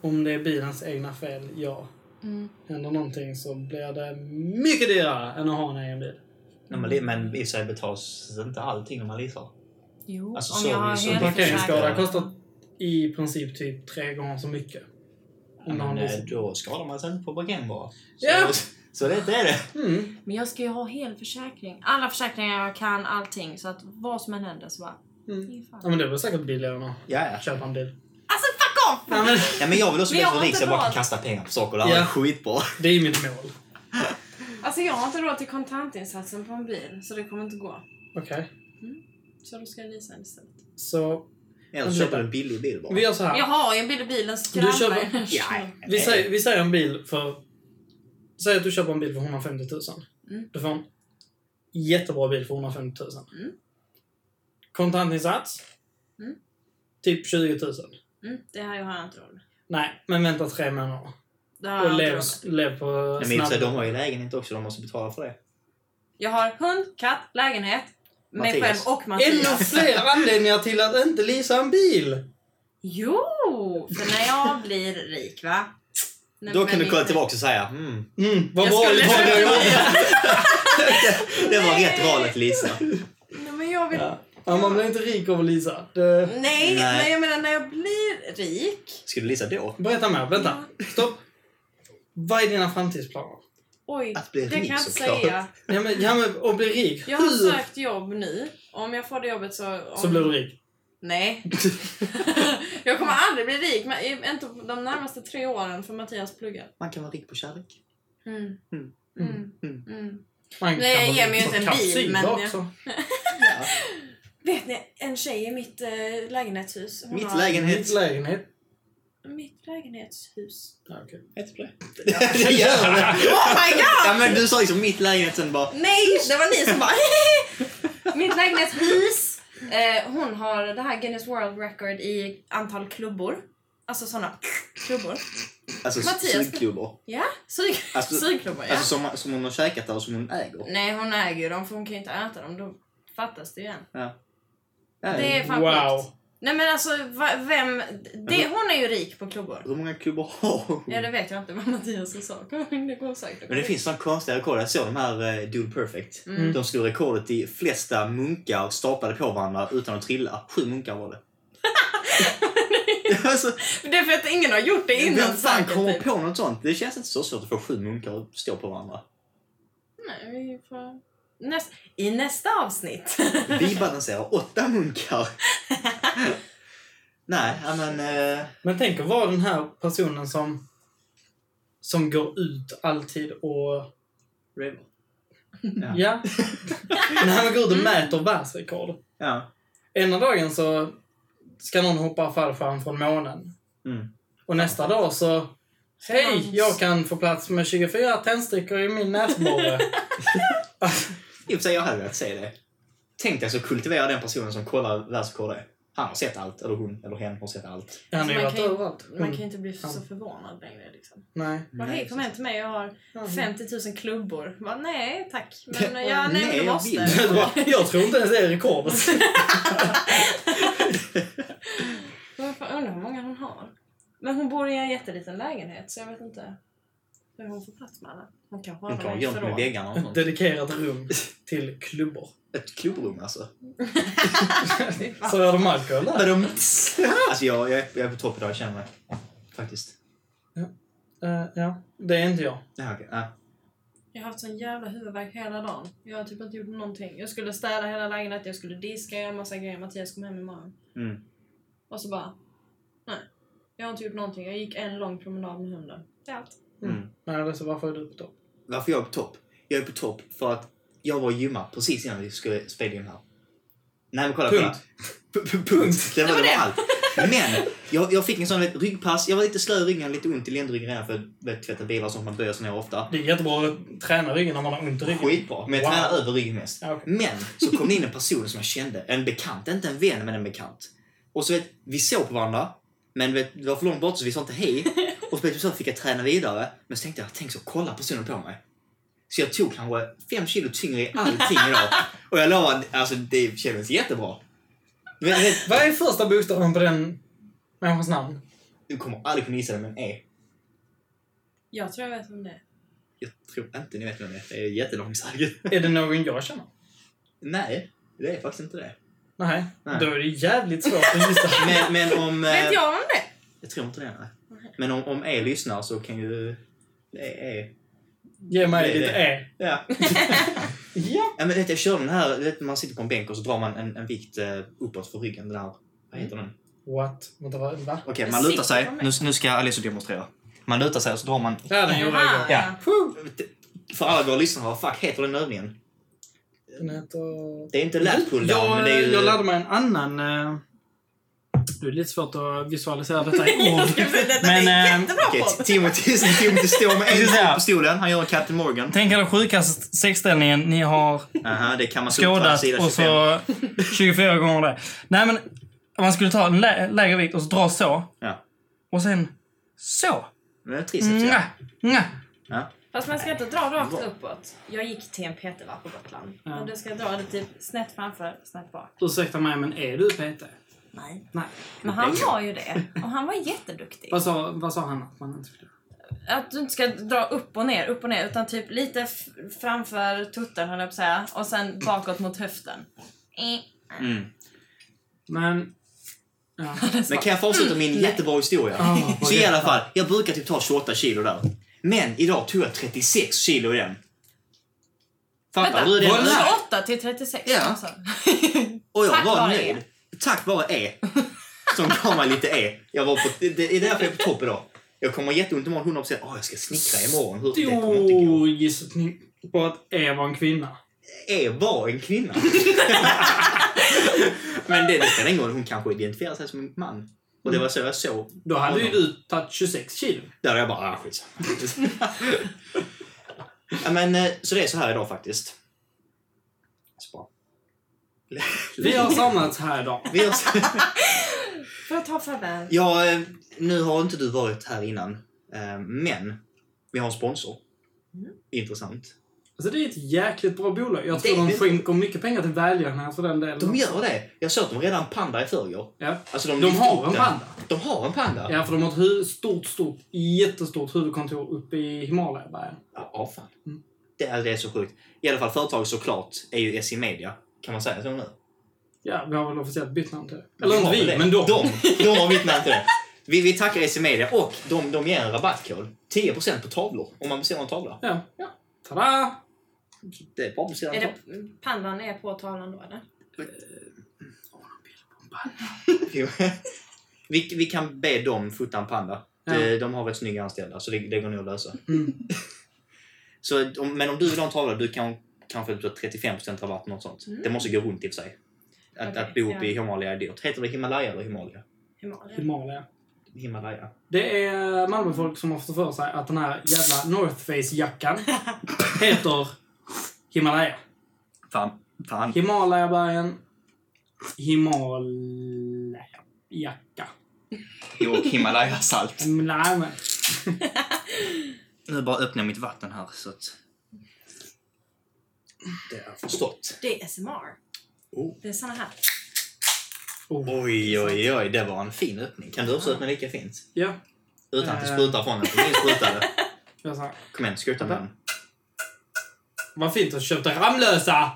Om det är bilens egna fel, ja. Mm. Händer någonting så blir det mycket dyrare än att ha en egen bil. När man, li- men i och för sig betalas inte allting när man leasar. Jo, Alltså, om jag har service och helt Parkeringsskada försäkrat. kostar i princip typ tre gånger så mycket. Om du har en Men eh, leasing. då skadar man sig inte på parkering bara. Så, Ja. så det, det är det. Mm. Men jag ska ju ha helförsäkring. Alla försäkringar jag kan, allting. Så att vad som än händer så bara... Mm. "Fy fan." Ja, men det blir säkert billigare än att Ja, ja. köpa en bil. Alltså fuck off! Ja, men, ja men jag vill också Men bli jag så har rik inte så jag bara kan råd. kasta pengar på saker. Det här Ja. är skitbra. det är ju mitt mål. Alltså jag har inte råd till kontantinsatsen på en bil. Så det kommer inte gå. Okej. Så då ska jag leasa en istället. Så Eller så köper du en billig bil bara. vi gör så här. Jag har ju en bil i bilen så Du jag kör- ramlar ju. Ja, ja. Vi säger, vi säger en bil för... Säg att du köper en bil för 150 000. Mm. Du får en jättebra bil för 150 000. Mm. Kontantinsats? Mm. Typ 20 000. Mm, det här har jag inte råd med. Nej, men vänta tre månader. Det har och jag, inte lev, råd med. lev på Nej, men i och för sig, de har ju lägenhet också. De måste betala för det. jag har hund, katt, lägenhet, mig själv Mattias. och Ännu Mattias. fler anledningar till att inte leasa en bil! Jo! För när jag blir rik va? När- Då kan när du kolla min- tillbaka och säga mm, Mm, vad Jag bra skulle vad bra köpa jag gjorde. det var Nej. rätt val att leasa. Nej men jag vill... Ja. Ja, man blir inte rik av att leasa. Det... Nej, Nej. men jag menar när jag blir rik. Ska du leasa då? Berätta mer, vänta. Stopp. Vad är dina framtidsplaner? Oj, Att bli det kan rik jag inte såklart. säga. Ja men, ja, men och bli rik. Jag har Hur? sökt jobb nu. Om jag får det jobbet så... Om... Så blir du rik. Nej. jag kommer aldrig bli rik. Men inte på de närmaste tre åren för Mattias pluggar. Man kan vara rik på kärlek. Mm. Mm. Mm. Mm. Mm. Man Nej, kan jag väl ger mig ju inte en bil, kapsyla men jag- också. Ja. Vet ni, en tjej i mitt eh, lägenhetshus. hon Mitt har- lägenhet. Mitt lägenhet. Mitt lägenhetshus. Ja, okej. Heter det det? gör det. Oh my god! Ja, men du sa liksom mitt lägenhet sen bara... Nej, det var ni som bara Mitt lägenhetshus. Eh, hon har det här Guinness World Record i antal klubbor. Alltså såna klubbor. Alltså Mattias. sugklubbor. Ja, sug, Alltså- sugklubbor ja. Alltså som, som hon har käkat där och som hon äger. Nej, hon äger ju dem för hon kan ju inte äta dem. Då fattas det ju en. Ja. Det är fan Wow. sjukt. Nej men alltså, va, vem... Det, hon är ju rik på klubbor. Hur många klubbor har hon? Ja, det vet jag inte vad Mattias sa. Det går säkert. Men det finns sådana konstiga rekord. Jag såg de här eh, Dude Perfect. Mm. De slog rekordet i flesta munkar staplade på varandra utan att trilla. Sju munkar var det. alltså, Det är för att ingen har gjort det innan vem fan säkert, kommer typ. på något sånt? Det känns inte så svårt att få sju munkar att stå på varandra. Nej, vi får... Näst... I nästa avsnitt. Vi balanserar åtta munkar. Nej, ja, men... Eh, Men tänk att vara den här personen som som går ut alltid och... Rainbow. Ja. Ja. När man går ut och mäter världsrekord. ja. Ena dagen så ska någon hoppa fallskärm från månen. Mm. Och nästa dag så... Hej! Jag kan få plats med 24 tändstickor i min näsborre. I och för sig, jag hade velat se det. Tänk dig så kultivera den personen som kollar världsrekord är. Han har sett allt, eller hon, eller hen har sett allt. Han har ju Alltså, man varit kan ju- överallt. Man kan ju inte bli Ja. så förvånad längre. Liksom. Nej. Bara, Mm. Nej, hej, kom hem till mig, jag har 50 000 klubbor. Bara, nej tack, men jag, nej, Nej, du jag måste. vill. Jag bara, Jag tror inte ens det är rekordet. Men fan, undrar hur många hon har. Men hon bor i en jätteliten lägenhet så jag vet inte hur hon får plats med alla. Hon kanske Hon har kan ha dem i gömt med förråd. väggarna och Ett sånt. dedikerat rum till klubbor. Ett klubbrum alltså. Fy fan. Så är de alkohol där. Badum. alltså jag, jag, är, jag är på topp idag, jag känner mig. Faktiskt. Eh, ja, det är inte jag. Ja, okej. Ja. Jag har haft sån jävla huvudvärk hela dagen. Jag har typ inte gjort någonting. Jag skulle städa hela lägenheten, jag skulle diska, göra massa grejer. Mattias kom hem imorgon. Mm. Och så bara... Nej. Jag har inte gjort någonting. Jag gick en lång promenad med hunden. Det är allt. Mm. Nej, alltså, varför är du på topp? Varför jag är på topp? Jag är på topp för att jag var och gymmade precis innan vi skulle spela in här. Nej men kolla, kolla. Punkt. P- p- Punkt. Det var, det var var det. allt. Men jag, jag fick en sån vet, ryggpass. Jag var lite slö i ryggen, lite ont i ländryggen redan för att vet, tvätta bilar och sånt. Man böjer sig ner ofta. Det är jättebra att träna ryggen när man har ont i ryggen. Skitbra. Men jag Wow. tränar över ryggen mest. Ja, okej. Men så kom det in en person som jag kände, en bekant, inte en vän men en bekant. Och så vet, vi såg på varandra, men vet, det var för långt bort så vi sa inte hej. Och så, vet, så fick jag träna vidare, men så tänkte jag, tänk så kollar personen på mig. Så jag tog kanske fem kilo tyngre i allting idag. Och jag lovar, alltså det kändes jättebra. Men, vet, Vad är första bokstaven på den människans namn? Du kommer aldrig kunna gissa vem den är. Jag tror jag vet om det är. Jag tror inte ni vet vem det är. Det är jättelångsökt. Är det någon jag känner? Nej, det är faktiskt inte det. Nej. Nej. Då är det jävligt svårt att gissa. Men, men om... eh, Vet jag om det? Jag tror inte det. Nej. Nej. Men om, om er lyssnar så kan ju... Eh, eh. Ge mig Det är ditt E. Ja. Ja. ja men vet, du, jag körde den här, du vet, man sitter på en bänk och så drar man en, en vikt eh, uppåt för ryggen. Den här, vad heter den? What? Vänta, vad- va? Okej, Men man lutar Mm. sitter sig. de med? Nu, nu ska Alessio demonstrera. Man lutar sig och så drar man... Ja, den gjorde jag Aha, igår. Ja. ja. För alla våra lyssnare, vad fuck heter den övningen? Den heter... Det är inte lat pull down, men jag, det är ju... jag lärde mig en annan... eh, Det är lite svårt att visualisera detta i ord. Men, eh, Okej, Timothy, Timothy står med en Precis, ja. fot på stolen. Han gör en Captain Morgan. Tänk er den sjukaste sexställningen ni har Aha, det kan man se på skådat sida och 25. så 24 gånger det. Nej men, om man skulle ta en lä- lägre vikt och så dra så. Ja. Och sen så. Men det är triceps, Nja, ja. nja. Fast man ska inte dra rakt uppåt. Jag gick till en PT var på Gotland. Ja. Och du ska dra det typ snett framför, snett bak. Ursäkta mig, men är du PT? Nej. Nej. Men han var ju det. Och han var jätteduktig. Vad sa, vad sa han att man inte skulle göra? Att du inte ska dra upp och ner, upp och ner. Utan typ lite f- framför tutten höll jag på att säga. Och sen bakåt mot höften. Eh. Mm. Men... Ja. Men kan jag fortsätta min Mm. jättebra historia? Ah, vad så i alla jättebra. fall, jag brukar typ ta 28 kilo där. Men idag tog jag 36 kilo i den. Fattar Vänta, du? Det vad är det? är 28 till 36 Ja. alltså. och jag Tack var vare nöjd. Tack vare E. Som gav mig lite E. Jag var på, det, det är därför jag är på topp idag. Jag kommer ha jätteont imorgon, 100%. Åh, Ah, jag ska snickra imorgon. Hur, det kommer inte gå. Stor gissning på att E var en kvinna. E var en kvinna. Men det, det spelar ingen roll, hon kanske identifierar sig som en man. Och det var så jag såg Då hade ju honom. du tagit 26 kilo. Där är jag bara, ah, skitsamma. ja, men, eh, så det är så här idag faktiskt. Så bra. Vi har samlats här idag. Vi har... Får jag ta farväl? ja, eh, nu har inte du varit här innan, eh, men vi har en sponsor. Mm. Intressant. Alltså det är ett jäkligt bra bolag. Jag Det- tror de skänker mycket pengar till välgörenhet för den delen. De gör det! Jag såg att de redan panda i förrgår. ja. Alltså, de lyfte upp har en den. panda. De har en panda? Ja, för de har ett hu- stort, stort, jättestort huvudkontor uppe i Himalayabergen. Ja, ja, fan. Mm. Det, är, det är så sjukt. I alla fall, företaget såklart är ju SE Media. Kan man säga så nu? Ja, vi har väl officiellt bytt namn till det. Eller Ja, inte vi, det. men de. De, de har vittnat till det. Vi, vi tackar SE Media och de, de ger en rabattkod. 10% på tavlor, om man beställer en tavla. Ja. ja. Tada! Det är bra att beställa Är en det tavla. pandan är på tavlan då eller? Jo. Vi, vi kan be dem fota en panda. De, de har rätt snygga anställda, så det, det går nog att lösa. Mm. Så, om, men om du vill ha en tavla, du kan kanske få 35% rabatt, något sånt. Mm. Det måste gå runt i och för sig. Att, Okej, att bo uppe ja. i Himalaya är dyrt. Heter det Himalaya eller Himalaya? Himalaya. Himalaya. Himalaya. Det är Malmöfolk som har fått för sig att den här jävla North Face-jackan heter Himalaya. Fan. Fan. Himalayabergen. Himalaya-jacka. Och Himalaya-salt. Nej, men. Nu bara öppnar jag mitt vatten här så att... Det är förstått. Det är SMR. Oh. Det är såna här. Oh. Oj, oj, oj. Det var en fin öppning. Kan du också öppna lika fint? Ja, Utan att det Eh. sprutar från den. för Min sprutade. jag sa. Kom igen, skruta med den. Vad fint att du köpte Ramlösa!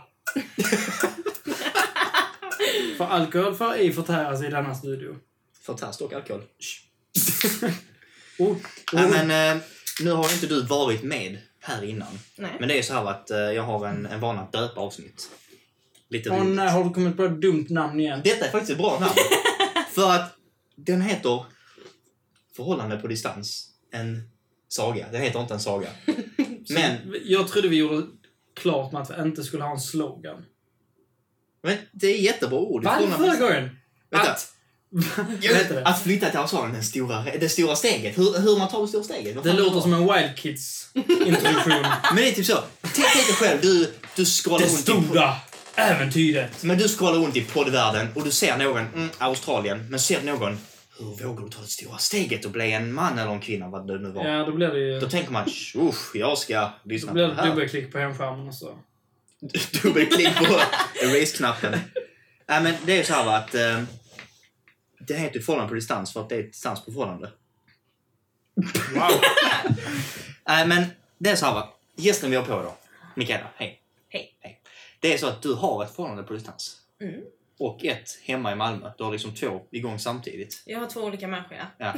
för alkohol får ej förtäras i denna studio. Förtärs dock alkohol. Oh, oh. Nej, men eh, nu har inte du varit med här innan. Nej. Men det är så här att eh, jag har en, en vana att döpa avsnitt. Lite Åh roligt. nej, har du kommit på ett dumt namn igen? Detta är faktiskt ett bra namn. för att den heter Förhållande på distans. En saga. Den heter inte en saga. Men Jag trodde vi gjorde klart med att vi inte skulle ha en slogan. Men det är jättebra ord. Vad hade vi förra gången? Vänta. Att... Jag Vad heter det? Att flytta till Australien, det stora, det stora steget. Hur, hur man tar det stora steget. Vad Det fan låter var? som en Wild Kids-introduktion. Men det är typ så. Tänk tänk dig själv, du, du scrollar det runt i, stora äventyret. men du scrollar runt i poddvärlden och du ser någon, mm, Australien, men ser någon, hur vågar du ta det stora steget och bli en man eller en kvinna, vad det nu var. Ja, då blir det ju... Då tänker man, usch, jag ska Då lyssna på blir det det här. dubbelklick på hemskärmen och så. Dubbelklick på erase-knappen. Nej men det är så här va, att eh, det heter förhållande på distans för att det är ett distansförhållande. Wow. Eh, men det är så här va. Gästen vi har på då. Mikaela, hej. Hej. hej. Det är så att du har ett förhållande på distans. Mm. Och ett hemma i Malmö. Du har liksom två igång samtidigt. Jag har två olika människor, ja. Ja.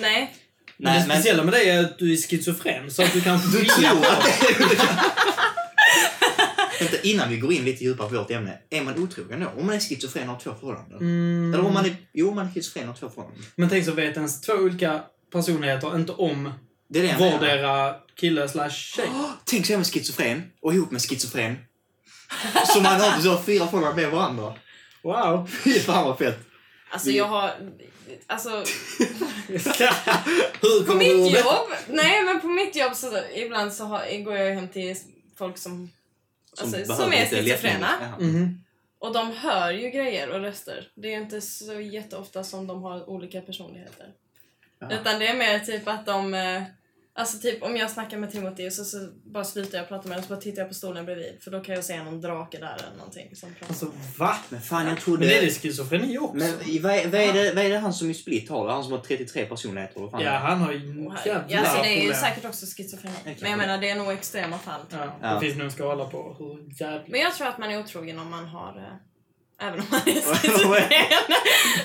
Nej. det Nej, men speciella med dig är att du är schizofren, så att du kan du skilja tror på... att det är olika. Vänta, innan vi går in lite djupare på vårt ämne. Är man otrogen då? Om man är schizofren och har två förhållanden? Mm. Eller om man är... Jo, man är schizofren och har två förhållanden. Men tänk så vet ens två olika personligheter inte om Det är det jag menar. vardera kille slash tjej. Åh, Tänk så är man schizofren och ihop med schizofren. Så man har typ så fyra förhållanden med varandra. Wow. Fy fan vad fett. Alltså Mm. jag har... Alltså, Hur på kommer du ur mitt det? jobb... Nej, men på mitt jobb så ibland så har, går jag hem till folk som... Alltså, som, behöver är lite schizofrena. lättning. Jaha. Mhm. Och de hör ju grejer och röster. Det är ju inte så jätteofta som de har olika personligheter. Ja. Utan det är mer typ att de... eh, Alltså typ om jag snackar med Timothy och så, så bara slutar jag prata med honom så bara tittar jag på stolen bredvid. För då kan jag se någon drake där eller någonting som pratar. Alltså, va? Men fan jag Men det är trodde... det schizofreni också. Men i- vad är, vad, är det, vad är det han som i Split har? Han som har 33 personligheter? Vad fan Ja, är det? han har ju Och här- jävla ja, alltså, det är ju problem. säkert också schizofreni. Exakt. Men jag menar det är nog extrema fall. tror jag. Ja, Ja. Det finns nog en skala på hur jävla... Men jag tror att man är otrogen om man har... eh, Även om man är Vad schizofren.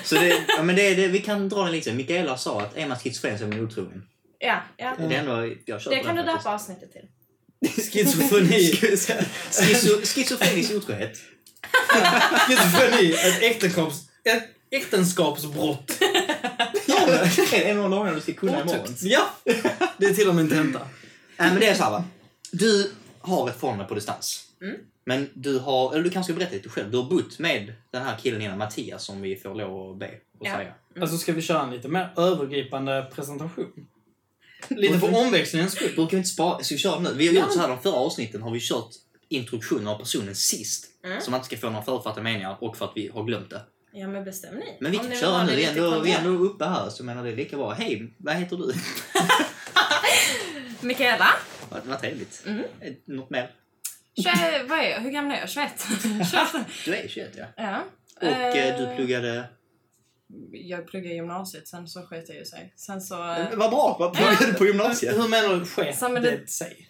Så det, ja, men det, är det, vi kan dra den liksom. Mikaela sa att är man schizofren så är man otrogen. ja, ja. Det är ändå jag köper Det kan du den Mm. faktiskt. döpa avsnittet till. Schizofreni. Schizo, schizofrenisk otrohet. schizofreni, ett äktenskaps... Ett äktenskapsbrott. Ja, men det är en av lagarna du ska kunna imorgon. Ja! Det är till och med en tenta. Nej, men det är så här, va. Du har ett förhållande på distans. Mm. Men du har, eller du kanske ska berätta lite själv. Du har bott med den här killen innan, Mattias, som vi får lov att be och Ja. säga. Alltså ska vi köra en lite mer övergripande presentation? Lite för omväxlingens skull. Brukar vi inte spara? Ska vi köra nu? Vi har gjort så här de förra avsnitten har vi kört introduktionen av personen sist. Mm. Så man inte ska få några förutfattade meningar och för att vi har glömt det. Ja men bestäm ni. Men vi Om kan ni vill köra ha nu. det Vi är lite ändå, vi är kontant. ändå uppe här så jag menar det är lika bra. Hej, vad heter du? Mikaela, Ja, det var trevligt. Mm. Eh, Något mer? tjej, vad är jag? hur gammal är jag? 21? 21. Du är 21 ja. ja. Och eh, du pluggade... Jag pluggade gymnasiet, sen så sket jag ju sig. Sen så... eh, Vad bra! Vad pluggade du på gymnasiet? Hur menar du sket Samhället- det sig?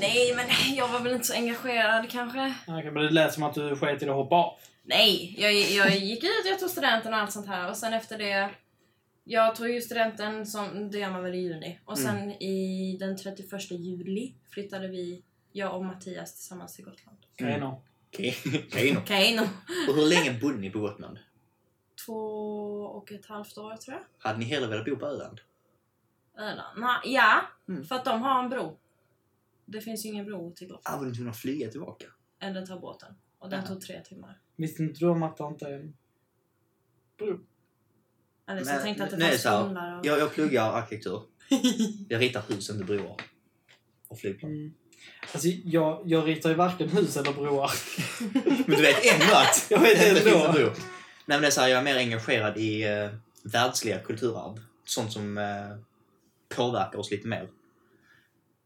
Nej men jag var väl inte så engagerad kanske. Okej, men det lät som att du sket i att hoppa av. Nej, jag, jag gick ut, jag tog studenten och allt sånt här och sen efter det jag tog ju studenten, som, det gör man väl i juni. Och sen Mm. i den 31 juli flyttade vi, jag och Mattias tillsammans till Gotland. Okej, nå. Okej. Okej, nog. Okej, okay, Och hur länge bodde ni på Gotland? Två och ett halvt år tror jag. Hade ni hellre velat bo på Öland? Öland. Nej, ja, Mm. för att de har en bro. Det finns ju ingen bro till Gotland. Ah, var ni tvungna att flyga tillbaka? Eller ta båten. Och den Ja. tog tre timmar. Visste inte du om att det inte är en bro? Eller så Men- jag tänkte att det nej, fanns så här, tunnlar och... Jag, jag pluggar arkitektur. Jag ritar hus, inte broar. Och flygplan. Mm. Alltså, jag, jag ritar ju varken hus eller broar. Men du vet ändå att Jag vet det inte ändå. finns en bro. Nej, men det är så här, jag är mer engagerad i eh, världsliga kulturarv. Sånt som eh, påverkar oss lite mer.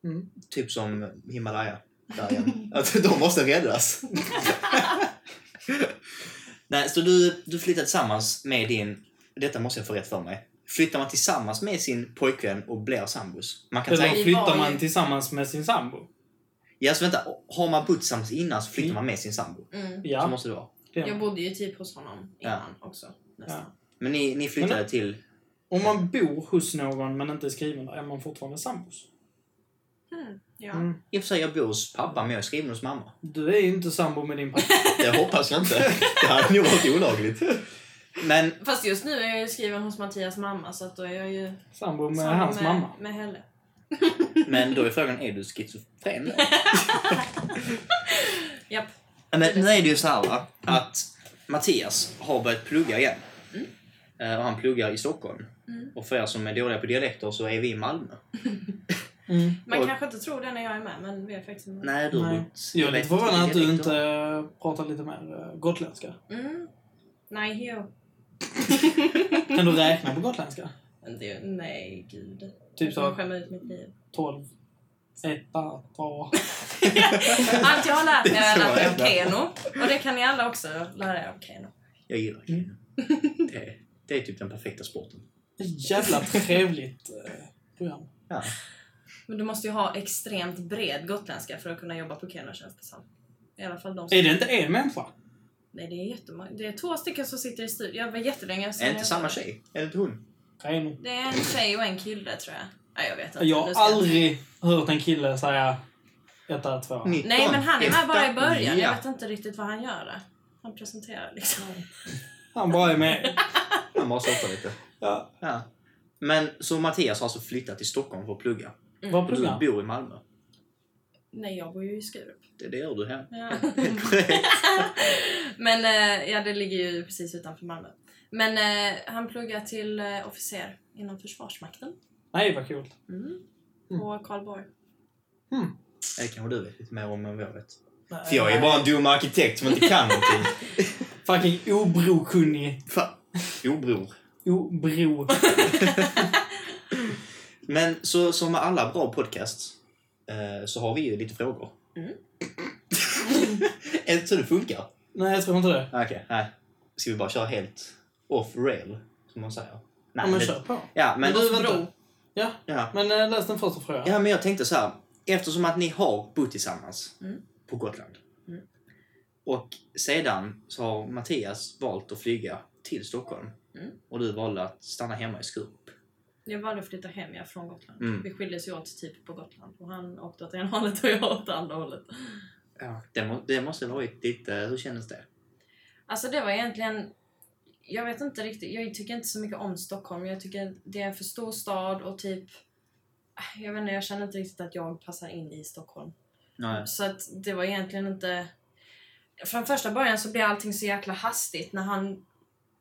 Mm. Typ som Himalaya. Där igen. Att de måste räddas. Nej, så du, du flyttar tillsammans med din... Detta måste jag få rätt för mig. Flyttar man tillsammans med sin pojkvän och blir sambos? Man kan Eller säga... Vi flyttar var man ju- tillsammans med sin sambo? Ja, så vänta. Har man bott tillsammans innan så flyttar man med sin sambo. Mm. Så Ja. måste det vara. det är- Jag bodde ju typ hos honom innan också. Nästan. Men ni, ni flyttade Men- till... Om man bor hos någon men inte är skriven där, är man fortfarande sambos? Ja. Mm. I och för sig, jag bor hos pappa, men jag är skriven hos mamma. Du är ju inte sambo med din pappa. Det hoppas jag inte. Det hade nog varit olagligt. Men Fast just nu är jag ju skriven hos Mattias mamma så att då är jag ju Sambo med samma hans med, mamma. med Helle. Men då är frågan, är du schizofren? Japp. Ja, Men nu är det ju så här va, att Mattias har börjat plugga igen. Eh, Och han pluggar i Stockholm. Mm. Och för er som är dåliga på dialekter så är vi i Malmö. Mm. Man Och- kanske inte tror det när jag är med men vi är faktiskt med. Nej, du har Nej. bott- Jag är vet lite förvånad att du dialekter. inte eh, pratar lite mer eh, gotländska. Mm. Nej, jo. Kan du räkna på gotländska? Men det- Nej, gud. Typ Jag så skämmer ut mitt liv. 12, 1, 2. Allt jag har lärt mig Det är har jag så lärt mig av jävla- Keno. Och det kan ni alla också lära er av Keno. Jag gillar kino. Det, är- det är typ den perfekta sporten. Jävla trevligt eh, program. Ja. Men du måste ju ha extremt bred gotländska för att kunna jobba på Keno känns det som. I alla fall de som... Är det inte en människa? Nej, det är jättemånga. Det är två stycken som sitter i studion. Jag var jättelänge Är det inte samma tjej? Är det inte hon? Reino. Det är en tjej och en kille tror jag. Nej, jag vet inte. Jag Nu har ska jag- aldrig hört en kille säga etta, tvåa. 19, Nej, men han är med bara i etta, början. nia. Jag vet inte riktigt vad han gör där. Han presenterar liksom. Han bara är med. Han bara softar lite. Ja. Ja. Men så Mattias har alltså flyttat till Stockholm för att plugga. Vad Och du program? bor i Malmö. Nej, jag bor ju i Skurup. Det, det gör du här. Ja. Helt korrekt. Men eh, ja, det ligger ju precis utanför Malmö. Men eh, han pluggar till eh, officer inom Försvarsmakten Nej, vad kul. på Karlborg. Det kanske du vet lite mer om än vad jag vet. För jag är bara en dum arkitekt som inte kan någonting. Fucking obrokunnig. Fan. Jo, bror. Obro. Men så som med alla bra podcasts eh, så har vi ju lite frågor. Mm. Är det så det funkar? Nej, jag tror inte det. Okej, nej. Ska vi bara köra helt off rail, som man säger? Nej, Ja, men det- kör på. Ja, men, Men du, vänta. bro. Ja, Ja. men eh, läs den första frågan. ja, men jag tänkte så här. Eftersom att ni har bott tillsammans Mm. på Gotland Mm. och sedan så har Mattias valt att flyga till Stockholm Mm. och du valde att stanna hemma i Skurup. Jag valde att flytta hem jag från Gotland. Mm. Vi skildes ju åt typ på Gotland och han åkte åt ena hållet och jag åt andra hållet. Ja. Det, må, det måste ha varit lite... Hur kändes det? Alltså det var egentligen... Jag vet inte riktigt. Jag tycker inte så mycket om Stockholm. Jag tycker det är en för stor stad och typ... Jag vet inte, jag känner inte riktigt att jag passar in i Stockholm. Nej. Så att det var egentligen inte... Från första början så blev allting så jäkla hastigt när han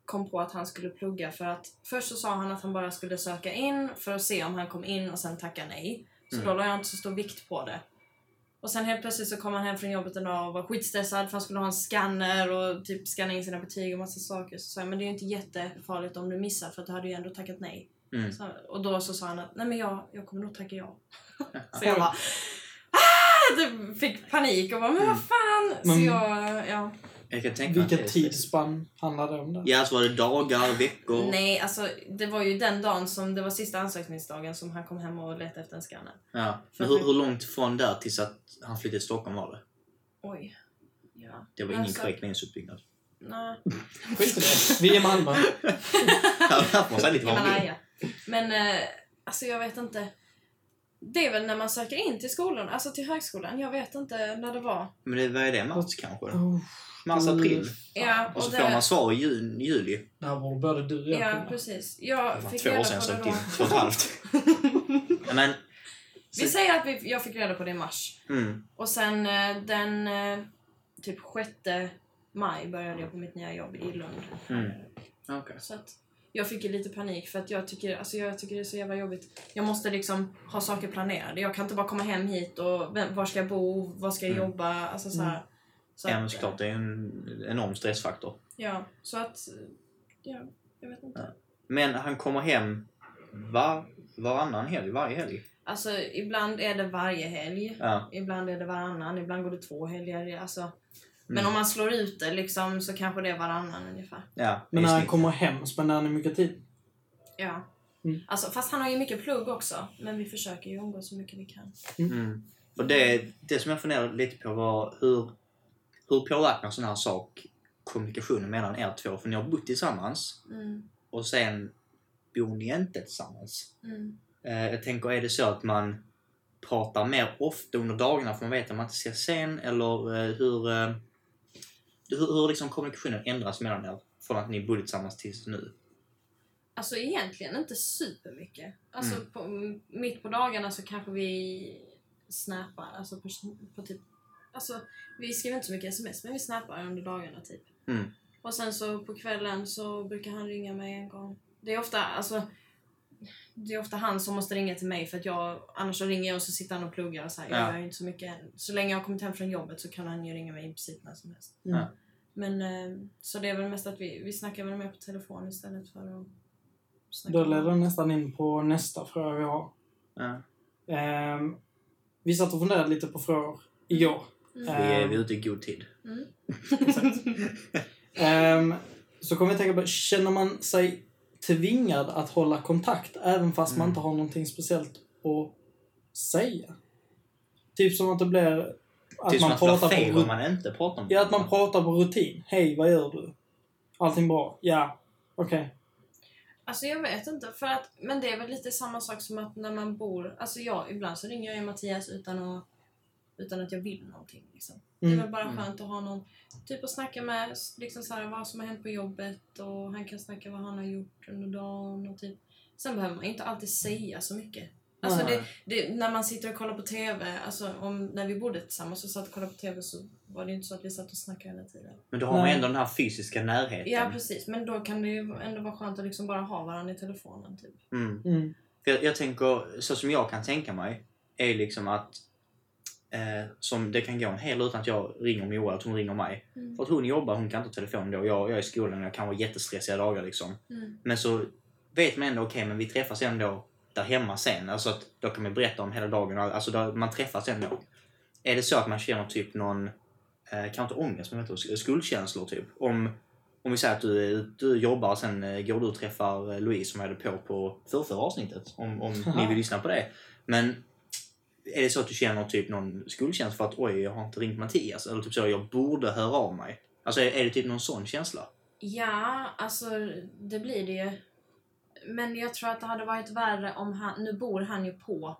kom på att han skulle plugga för att först så sa han att han bara skulle söka in för att se om han kom in och sen tacka nej. Så Mm. då la jag inte så stor vikt på det. Och sen helt plötsligt så kom han hem från jobbet en dag och var skitstressad för han skulle ha en scanner och typ scanna in sina betyg och massa saker. Så sa jag, men det är ju inte jättefarligt om du missar för att du hade ju ändå tackat nej. Mm. Så, och då så sa han att, nej men jag, jag kommer nog tacka ja. Så Oj. jag bara ah! Typ Fick panik och bara men vad fan! Så Men- jag, ja. Jag kan tänka mig att det Vilka är- tidsspann handlar det om? Där? Ja, så var det dagar, veckor. Nej alltså det var ju den dagen som det var sista ansökningsdagen som han kom hem och letade efter en skanner. Ja. Men hur, hur långt från där tills att han flyttade till Stockholm var det? Oj. Ja. Det var ingen Alltså- korrekt meningsuppbyggnad. Nej. Skit i det. Vi är i Malmö. Här får man säga lite vad Jag man menar, vill. ja. Men eh, alltså jag vet inte. Det är väl när man söker in till skolan, alltså till högskolan. Jag vet inte när det var. Men det, vad är det? Mars kanske? Oh, Mars, april? Ja, Och så det- får man svar i jun, juli. det här borde både du och jag Ja kunna. precis. Det Jag var fick två år reda sedan jag på det sökte in. då. Två och ett halvt. Ja, Men, Vi säger att vi, jag fick reda på det i mars. mm, Och sen eh, den eh, typ 6 maj började jag på mitt nya jobb i Lund. mm. Okej. Så att jag fick ju lite panik för att jag tycker, alltså jag tycker det är så jävla jobbigt. Jag måste liksom ha saker planerade. Jag kan inte bara komma hem hit och vem, var ska jag bo, var ska jag Mm. jobba, alltså så här. Så Ja, att, men såklart. Det är en enorm stressfaktor. eh, Ja, så att, eh, ja, jag vet inte. Men han kommer hem var, varannan helg, varje helg. Alltså ibland är det varje helg. Ja. Ibland är det varannan, ibland går det två helger. Alltså. Men Mm. om man slår ut det liksom så kanske det är varannan ungefär. ja Men i när han snitt. kommer hem spenderar ni mycket tid? Ja. Mm. Alltså, fast han har ju mycket plugg också. Men vi försöker ju umgås så mycket vi kan. Mm. Och det, det som jag funderade lite på var hur, hur påverkar en sån här sak kommunikationen mellan er två? För ni har bott tillsammans Mm. och sen bor ni inte tillsammans. Mm. Eh, jag tänker, är det så att man pratar mer ofta under dagarna för man vet att man inte ses sen? Eller eh, hur, eh, hur, hur liksom kommunikationen ändras mellan er från att ni bodde tillsammans tills nu? Alltså egentligen inte supermycket. Alltså Mm. på, m- mitt på dagarna så kanske vi snappar. Alltså på, på typ... Alltså vi skriver inte så mycket sms men vi snappar under dagarna typ. Mm. Och sen så på kvällen så brukar han ringa mig en gång. Det är ofta alltså... Det är ofta han som måste ringa till mig för att jag annars så ringer jag och så sitter han och pluggar och så här. Ja. Jag gör ju inte så mycket än. Så länge jag har kommit hem från jobbet så kan han ju ringa mig i princip när som helst. Mm. Ja. Men eh, så det är väl mest att vi, vi snackar väl mer på telefon istället för att snacka. Då leder det nästan in på nästa fråga vi har. Ja. Ehm, vi satt och funderade lite på frågor igår. Mm. Vi är Ehm, vi är ute i god tid. Mm. Exakt. Ehm, så kommer jag tänka på, känner man sig tvingad att hålla kontakt även fast Mm. man inte har någonting speciellt att säga. Typ som att det blir att Tills man man slår pratar fel på om rutin. man inte pratar om Ja, att man pratar på rutin. Hej, vad gör du? Allting bra? Ja. Okej. Alltså jag vet inte, för att, men det är väl lite samma sak som att när man bor... Alltså jag, ibland så ringer jag ju Mattias utan att, utan att jag vill någonting. Liksom. Det är Mm. väl bara Mm. skönt att ha någon typ att snacka med, s- liksom så här, vad som har hänt på jobbet och han kan snacka vad han har gjort under dagen och typ. Sen behöver man ju inte alltid säga så mycket. Alltså Nej. det, det, när man sitter och kollar på TV, alltså om, när vi bodde tillsammans och satt och kollade på TV så var det ju inte så att vi satt och snackade hela tiden. Men då har man Nej. ändå den här fysiska närheten. Ja precis, men då kan det ju ändå vara skönt att liksom bara ha varandra i telefonen typ. Mm. Mm. För jag, jag tänker, så som jag kan tänka mig, är liksom att eh, som det kan gå en hel utan att jag ringer Moa, att hon ringer mig. Mm. För att hon jobbar, hon kan inte ta telefonen då. Jag, jag är i skolan och jag kan vara jättestressiga dagar liksom. Mm. Men så vet man ändå, okej, men vi träffas ändå där hemma sen. Alltså att då kan man berätta om hela dagen. Alltså där, man träffas ändå. Är det så att man känner typ någon, eh, kanske inte ångest, men vet du, skuldkänslor typ. Om, om vi säger att du, du jobbar och sen eh, går du och träffar eh, Louise som jag hade på på förrförra avsnittet. Om, om ni Aha. vill lyssna på det. Men är det så att du känner typ någon skuldkänsla för att oj, jag har inte ringt Mattias? Eller typ så, jag borde höra av mig. Alltså är, är det typ någon sån känsla? Ja, alltså det blir det ju. Men jag tror att det hade varit värre om han, nu bor han ju på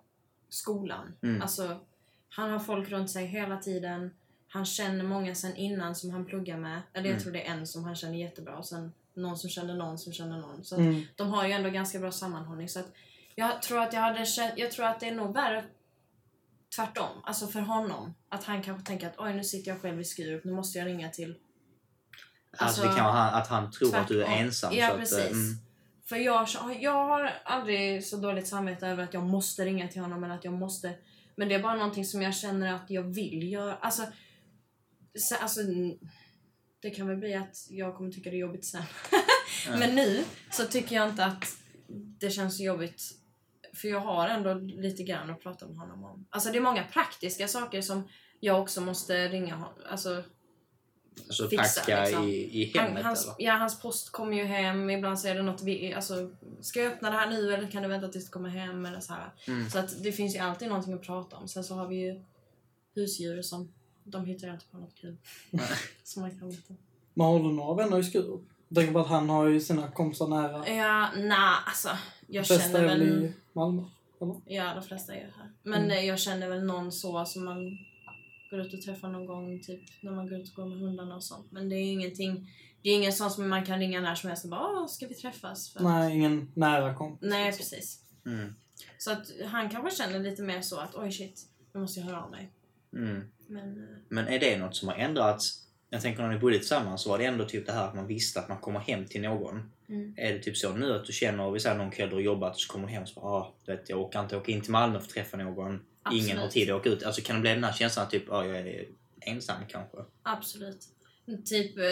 skolan. Mm. Alltså, han har folk runt sig hela tiden. Han känner många sen innan som han pluggar med. Eller jag Mm. tror det är en som han känner jättebra och sen någon som känner någon som känner någon. Så att Mm. de har ju ändå ganska bra sammanhållning. Så att jag tror att jag hade känt, jag tror att det är nog värre tvärtom. Alltså för honom. Att han kanske tänker att oj nu sitter jag själv i Skurup, nu måste jag ringa till Alltså, det Alltså, kan vara han, att han tror att du är Tvärtom. ensam. Ja, så att, precis. eh, mm. För jag, jag har aldrig så dåligt samvete över att jag måste ringa till honom eller att jag måste... Men det är bara någonting som jag känner att jag vill göra. Alltså, så, alltså det kan väl bli att jag kommer tycka det är jobbigt sen. Ja. Men nu så tycker jag inte att det känns så jobbigt. För jag har ändå lite grann att prata med honom om. Alltså det är många praktiska saker som jag också måste ringa honom. Alltså, alltså fixa, packa liksom. i, i han, hemmet hans, eller? ja, hans post kommer ju hem. Ibland så är det något vi... Alltså, ska jag öppna det här nu eller kan det vänta tills det kommer hem? Eller så här. Mm. Så att det finns ju alltid någonting att prata om. Sen så har vi ju husdjur som... De hittar ju alltid på något kul. som man kan hitta. Men har du några vänner i Skurup? Jag tänker på att han har ju sina kompisar nära. Ja, nej alltså. De Jag flesta känner är väl väl... i Malmö? Ja, de flesta är ju här. Men Mm. eh, jag känner väl någon så som man går ut och träffar någon gång, typ när man går ut och går med hundarna och sånt. Men det är ingenting... Det är ingen sån som man kan ringa när som helst och bara Åh, ska vi träffas? För att- Nej, ingen nära kompis. Nej, liksom. precis. Mm. Så att han kanske känner lite mer så att oj shit, nu måste jag höra av mig. Mm. Men eh, Men är det något som har ändrats? Jag tänker när ni bodde tillsammans så var det ändå typ det här att man visste att man kommer hem till någon. Mm. Är det typ så nu att du känner, vi säger någon kväll du har jobbat och så kommer du hem och så bara, ah, du vet, jag orkar inte åka in till Malmö för att träffa någon. Ingen Absolut. har tid att åka ut. Alltså kan det bli den här känslan att typ, ah, jag är ensam kanske? absolut. Typ, eh,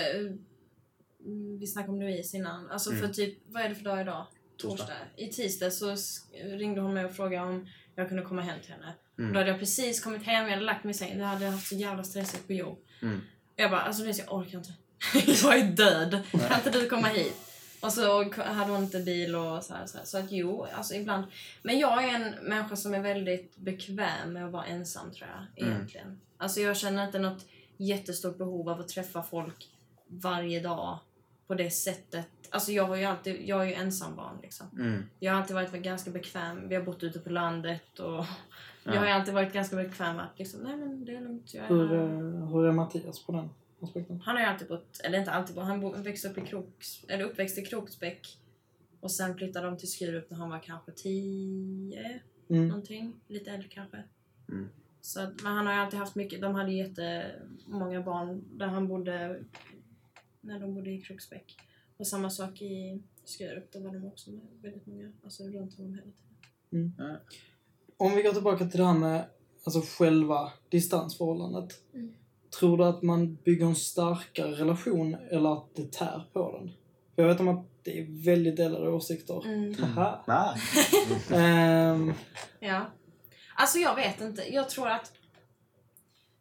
mm, vi snackade om Louise innan. Alltså Mm. för typ, vad är det för dag idag? Torsdag. I tisdag så s- ringde hon mig och frågade om jag kunde komma hem till henne. Mm. Då hade jag precis kommit hem, jag hade lagt mig i sängen, jag hade haft så jävla stressigt på jobb. Mm. Jag bara, alltså Louise jag orkar inte. jag är död. Kan inte du komma hit? Och så hade hon inte bil och så här, så, här. så att jo, alltså ibland. Men jag är en människa som är väldigt bekväm med att vara ensam tror jag, Mm. egentligen. Alltså jag känner inte något jättestort behov av att träffa folk varje dag på det sättet. Alltså jag har ju alltid, jag är ju ensambarn liksom. Mm. Jag har alltid varit ganska bekväm. Vi har bott ute på landet och Ja. jag har ju alltid varit ganska bekväm med att liksom, nej men det är lugnt. Jag är Hur, här. eh, hur är Mattias på den aspekten? Han har ju alltid bott, eller inte alltid bott, han bo- växte upp i Kroks, eller uppväxt i Kroksbäck. Och sen flyttade de till Skurup när han var kanske 10 Mm. någonting. Lite äldre kanske. Mm. Så, att- men han har ju alltid haft mycket, de hade ju jättemånga barn där han bodde när de bodde i Kroksbäck. Och samma sak i Skurup, då var de också med väldigt många, alltså runt honom hela tiden. Om vi går tillbaka till det här med alltså, själva distansförhållandet. Mm. Tror du att man bygger en starkare relation eller att det tär på den? För jag vet om att det är väldigt delade åsikter. Mm. Haha. Nej. Ehm, Ja. Alltså jag vet inte. Jag tror att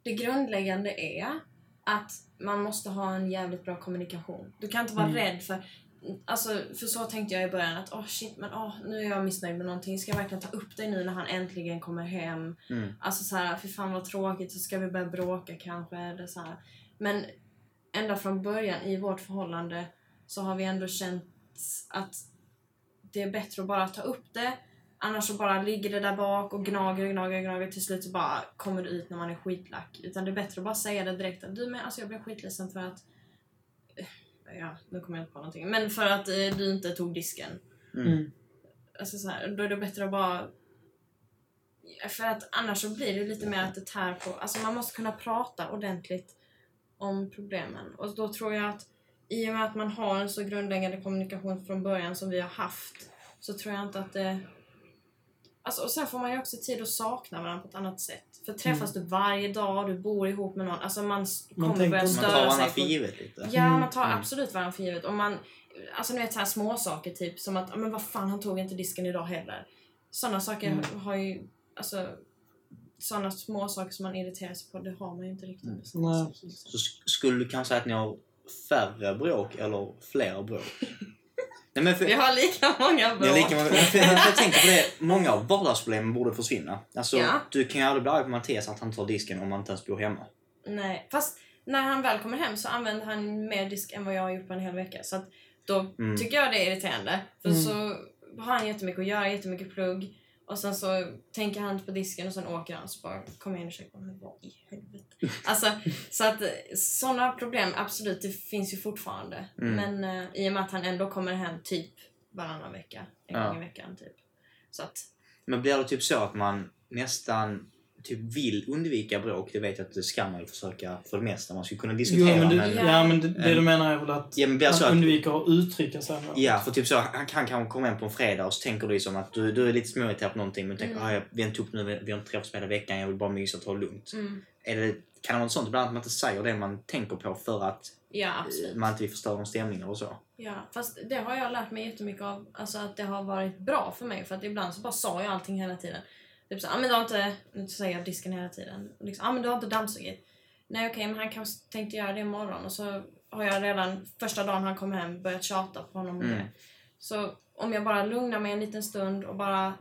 det grundläggande är att man måste ha en jävligt bra kommunikation. Du kan inte vara Mm. rädd för... Alltså, för så tänkte jag i början att åh shit, men åh, nu är jag missnöjd med någonting. Ska jag verkligen ta upp dig nu när han äntligen kommer hem? Mm. Alltså så här, fy fan vad tråkigt, så ska vi börja bråka kanske? Eller så här. Men ända från början i vårt förhållande så har vi ändå känt att det är bättre att bara ta upp det. Annars så bara ligger det där bak och gnager och gnager och gnager. Till slut så bara kommer det ut när man är skitlack. Utan det är bättre att bara säga det direkt. Att, du men alltså jag blev skitledsen för att... eh, Ja, nu kommer jag inte på någonting. Men för att eh, du inte tog disken. Mm. Alltså så här, då är det bättre att bara... För att annars så blir det lite mer att det tär på... Alltså man måste kunna prata ordentligt om problemen. Och då tror jag att i och med att man har en så grundläggande kommunikation från början som vi har haft så tror jag inte att det... Alltså, och sen får man ju också tid att sakna varandra på ett annat sätt. För träffas du varje dag, du bor ihop med någon, alltså man s- Mm. Man kommer tänker börja inte- störa Man sig tar varandra på- för givet lite. Ja, Mm. man tar Mm. absolut varandra för givet. Och man, alltså ni vet så här små saker typ som att, "Ja, men vad fan han tog inte disken idag heller. Sådana saker Mm. har ju, alltså sådana små saker som man irriterar sig på, det har man ju inte riktigt. Mm. med såna Nej. saker, liksom. Så sk- skulle du kanske säga att ni har färre bråk eller fler bråk? Nej, men för, Vi har lika många Ni bråk. har lika många, för, jag tänker på det, många av vardagsproblemen borde försvinna. Alltså, Ja. Du kan ju aldrig bli arg på Mattias att han tar disken om han inte ens bor hemma. Nej, fast när han väl kommer hem så använder han mer disk än vad jag har gjort på en hel vecka. Så att då Mm. tycker jag det är irriterande. För Mm. så har han jättemycket att göra, jättemycket plugg. Och sen så tänker han inte på disken och sen åker han så bara kommer jag in och checkar. Men vad i helvete? Alltså, så att sådana problem, absolut, det finns ju fortfarande. Mm. Men eh, i och med att han ändå kommer hem typ varannan vecka. En Ja. gång i veckan typ. Så att, Men blir det typ så att man nästan typ vill undvika bråk, det vet jag att det ska man ju försöka för det mesta. Man skulle kunna Jo, diskutera men men... det, ja, men det, det du menar är väl att Ja, men blir det så man att... undviker att uttrycka sig. mer. Ja, för typ så, han kan kanske komma hem på en fredag och så tänker du liksom att du, du är lite småirriterad på någonting men du tänker Mm. ah, jag, vi har inte upp nu, vi- vi har inte träffats på hela veckan, jag vill bara mysa och ta det lugnt. mm, Är det, kan det vara något sånt ibland att man inte säger det man tänker på för att ja eh, absolut. man inte vill förstöra någon stämning eller så? Ja, fast det har jag lärt mig jättemycket av. Alltså att det har varit bra för mig. För att ibland så bara sa jag allting hela tiden. Typ såhär, ah, men du har inte... Nu säger jag disken hela tiden. Och Liksom, ah, men du har inte dammsugit. Nej okej, men han kanske tänkte göra det imorgon. Och så har jag redan första dagen han kom hem börjat tjata på honom om Mm. det. Så om jag bara lugnar mig en liten stund och bara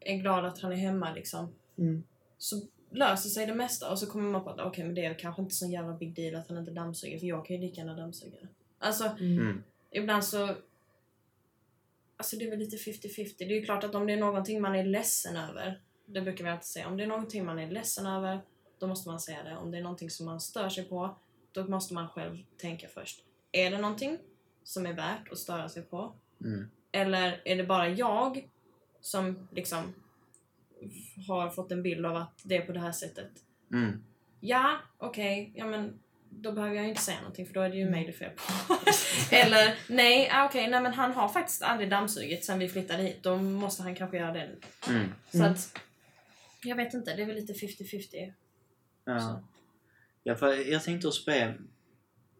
är glad att han är hemma liksom. Mm. Så löser sig det mesta och så kommer man på att okej men det är kanske inte så jävla big deal att han inte dammsuger för jag kan ju lika gärna dammsuga. Alltså Mm. Mm. ibland så... Alltså det är väl lite 50-50. Det är ju klart att om det är någonting man är ledsen över, det brukar vi alltid säga, om det är någonting man är ledsen över, då måste man säga det. Om det är någonting som man stör sig på, då måste man själv tänka först. Är det någonting som är värt att störa sig på? Mm. Eller är det bara jag som liksom har fått en bild av att det är på det här sättet? Mm. Ja, okej, ja men då behöver jag ju inte säga någonting för då är det ju mig det är fel på. Eller nej, ah, okej, nej men han har faktiskt aldrig dammsugit sen vi flyttade hit. Då måste han kanske göra det nu. Mm. Så Mm. att, jag vet inte, det är väl lite 50-50. Ja. Ja, för jag tänkte också på det,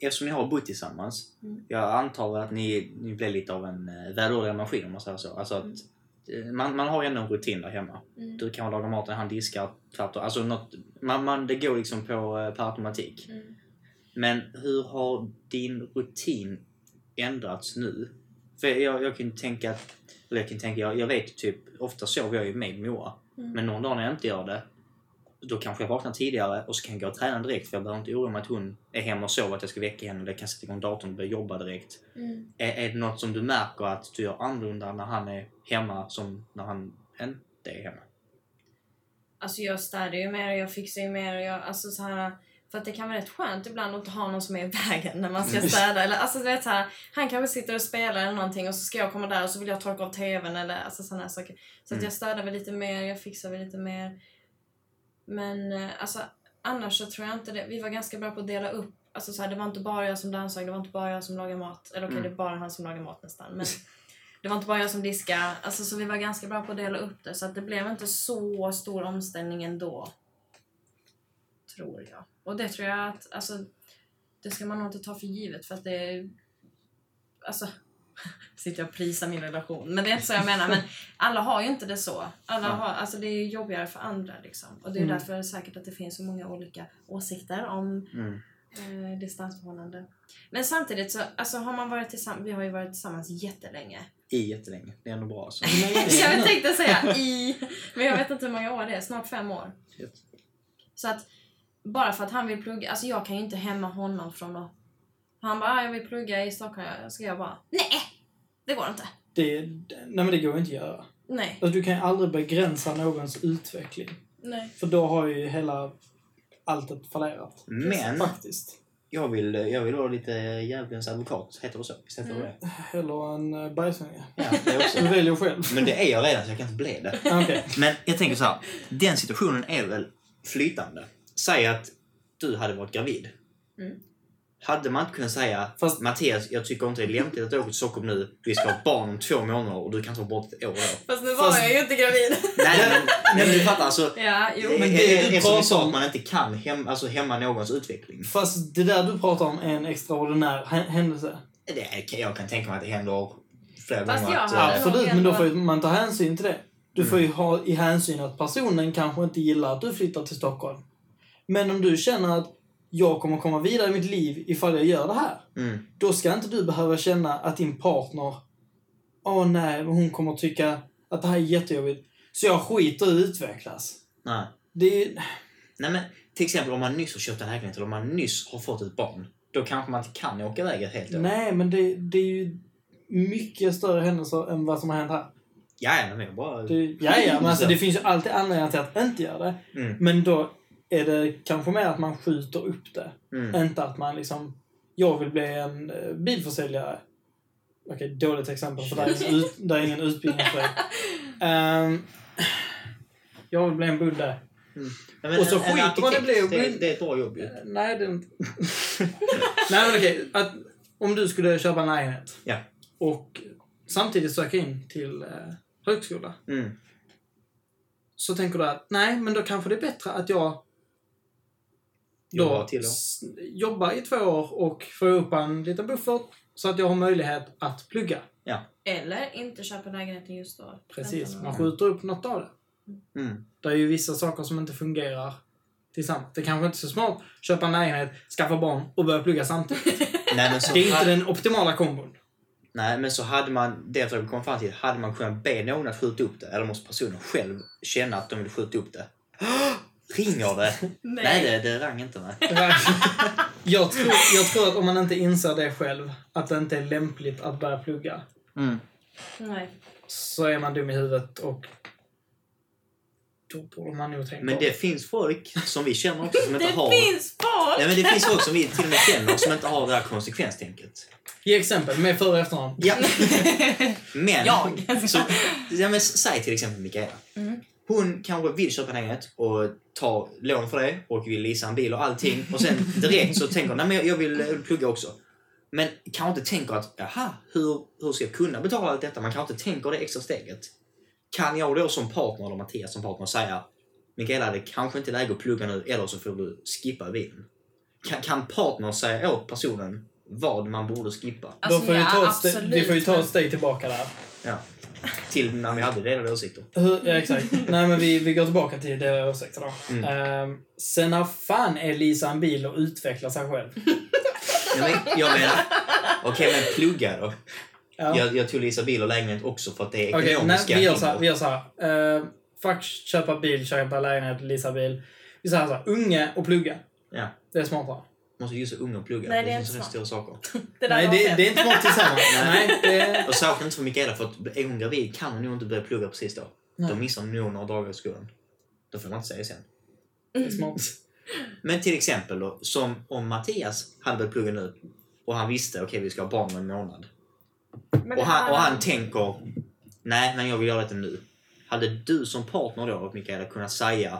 eftersom ni har bott tillsammans. Mm. Jag antar väl att ni, ni blev lite av en eh, välordnad maskin om man säger så. Alltså att, eh, man, man har ju ändå en rutin där hemma. Mm. Du kan laga maten, han diskar, tvärtom. Alltså något, man, man, det går liksom på eh, per automatik. Mm. Men hur har din rutin ändrats nu? För jag, jag kan ju tänka, att- eller jag kan tänka, jag, jag vet ju typ, ofta sover jag ju med Moa. Mm. Men någon dag när jag inte gör det, då kanske jag vaknar tidigare och så kan jag gå och träna direkt för jag behöver inte oroa mig att hon är hemma och sover, att jag ska väcka henne. Jag kan sätta igång datorn och börja jobba direkt. Mm. Är, är det något som du märker att du gör annorlunda när han är hemma som när han inte är hemma? Alltså jag städar ju mer och jag fixar ju mer och jag, alltså så här, för att det kan vara rätt skönt ibland att inte ha någon som är i vägen när man ska Mm. städa. Eller, alltså, du vet, så här, han kanske sitter och spelar eller någonting och så ska jag komma där och så vill jag torka av TVn eller alltså, sådana här saker. Så att Mm. jag städar väl lite mer, jag fixar väl lite mer. Men eh, alltså annars så tror jag inte det. Vi var ganska bra på att dela upp. Alltså så här, det var inte bara jag som dansade, det var inte bara jag som lagade mat. Eller okej, Mm. det var bara han som lagade mat nästan. Men det var inte bara jag som diskade. Alltså, så vi var ganska bra på att dela upp det. Så att det blev inte så stor omställning ändå. Tror jag. Och det tror jag att, alltså, det ska man nog inte ta för givet för att det är, alltså, sitter jag och prisar min relation. Men det är inte så jag menar. Men alla har ju inte det så. Alla Ja. har, alltså det är ju jobbigare för andra liksom. Och det är ju Mm. därför säkert att det finns så många olika åsikter om Mm. eh, distansförhållande. Men samtidigt så alltså, har man varit tillsammans, vi har ju varit tillsammans jättelänge. I jättelänge. Det är ändå bra alltså. jag tänkte säga i, men jag vet inte hur många år det är, snart fem år. Shit. Så att bara för att han vill plugga, alltså jag kan ju inte hämma honom från att... Han bara, "Ah, jag vill plugga i Stockholm, ska jag bara, nej! Det går inte. Det, nej men det går inte att göra. Nej. Alltså, du kan ju aldrig begränsa någons utveckling. nej. För då har ju hela alltet fallerat. Men Faktiskt. jag vill, jag vill vara lite djävulens advokat. Heter det så? Visst heter det Mm. det? Eller en eh, bajsunge. Ja, det också. Du väljer själv. Men det är jag redan så jag kan inte bli det. Ah, Okej. Men jag tänker så här. Den situationen är väl flytande. Säg att du hade varit gravid. Mm. Hade man inte kunnat säga Fast- Mattias, jag tycker inte det är lämpligt att du åker till Stockholm nu. Vi ska ha ett barn om två månader och du kan inte vara borta ett år då. Fast nu var Fast- jag ju inte gravid. Nej, men, nej, men du fattar alltså. ja, jo. det, men är- det är, du är som vi pratar sa om- att man inte kan hem, alltså, hämma någons utveckling. Fast det där du pratar om är en extraordinär hä- händelse. Det, är- jag kan tänka mig att det händer flera Fast gånger. jag att, har- eh, Absolut, men då får ju man ta hänsyn till det. Du Mm. får ju ha i hänsyn att personen kanske inte gillar att du flyttar till Stockholm. Men om du känner att jag kommer komma vidare i mitt liv ifall jag gör det här. mm, Då ska inte du behöva känna att din partner, åh nej, men hon kommer tycka att det här är jättejobbigt. Så jag skiter i att utvecklas. nej. Det är ju... nej, men till exempel om man nyss har köpt en lägenhet eller om man nyss har fått ett barn. Då kanske man inte kan åka iväg ett helt år. Nej, men det, det är ju mycket större händelser än vad som har hänt här. Ja, ja, men jag bara... Det, ja, ja, men alltså det finns ju alltid anledningar till att inte göra det. Mm, Men då är det kanske mer att man skjuter upp det. mm. Inte att man liksom, jag vill bli en eh, bilförsäljare. Okej, dåligt exempel för där är ingen, ut, där är ingen utbildning för det. Ehm, jag vill bli en budde. Nej, men Och så en- en skiter man arkitekt, i det och går Det, in- det är ett bra jobb ju. Eh, Nej, det är inte... Nej, men okej. Att, om du skulle köpa en lägenhet Ja. och samtidigt söka in till eh, högskola. Mm. så tänker du att nej, men då kanske det är bättre att jag då Jobbar till då. s- jobbar i två år och får upp en liten buffert så att jag har möjlighet att plugga. Eller inte köpa lägenheten just då. Precis, Vänta. man skjuter upp något av det. Mm. Det är ju vissa saker som inte fungerar tillsammans. Det kanske inte är så smart att köpa en lägenhet, skaffa barn och börja plugga samtidigt. Nej, men så Det är hade- inte den optimala kombon. Nej, men så hade man, det jag kom fram till, hade man kunnat be någon att skjuta upp det? Eller måste personen själv känna att de vill skjuta upp det? Ringer det? Nej. Nej, det, det rang inte. Nej. Jag tror, jag tror att om man inte inser det själv, att det inte är lämpligt att börja plugga, Nej. så är man dum i huvudet och då borde man nog tänka Men om. det finns folk som vi känner också som inte Det har... finns folk! Nej, men det finns folk som vi till och med känner som inte har det här konsekvenstänket. Ge exempel med före och efternamn. Ja. Men, Jag. Så, ja, men, s- säg till exempel Mikaela. Mm. Hon kanske vill köpa en lägenhet och ta lån för det och vill leasa en bil och allting. Och sen direkt så tänker hon nej men jag- jag vill eh, plugga också. Men kanske inte tänker att jaha, hur, hur ska jag kunna betala allt detta? Man kanske inte tänker det extra steget. Kan jag då som partner, eller Mattias som partner, säga Mikaela det kanske inte är läge att plugga nu eller så får du skippa bilen. Kan, kan partnern säga åt personen vad man borde skippa? Alltså, Då får vi ja, ta ett ste- absolut, vi får ju ta men- ett steg tillbaka där. Ja. Till när vi hade delade åsikter. Hur, ja, exakt. Nej, men vi, vi går tillbaka till det jag ursäkta då. Mm. Ehm, sen när fan är Lisa en bil och utvecklar sig själv? Nej, men jag menar, okej men plugga då. Ja. Jag, jag tog Lisa bil och lägenhet också för att det är Okej, nej, ekonomiska vi gör hinder. så här. Vi gör så här. Ehm, fuck köpa bil, köpa lägenhet, Lisa bil. Vi säger så här, unge och plugga. Ja. Det är smartare. Måste ju så unga och plugga. Nej, det är finns inte stora saker. Det där Nej, var det, fel. det är inte smart tillsammans. nej, det, Och särskilt inte för Mikaela för att är hon gravid kan hon nog inte börja plugga precis då. Nej. Då missar hon nog några dagar i skolan. Då får man inte säga sen. det är smart. Men till exempel då, som om Mattias hade börjat plugga nu och han visste okej vi ska ha barn om en månad. Men Och det han, här- och han tänker, nej men jag vill göra detta nu. Hade du som partner då, Mikaela, kunnat säga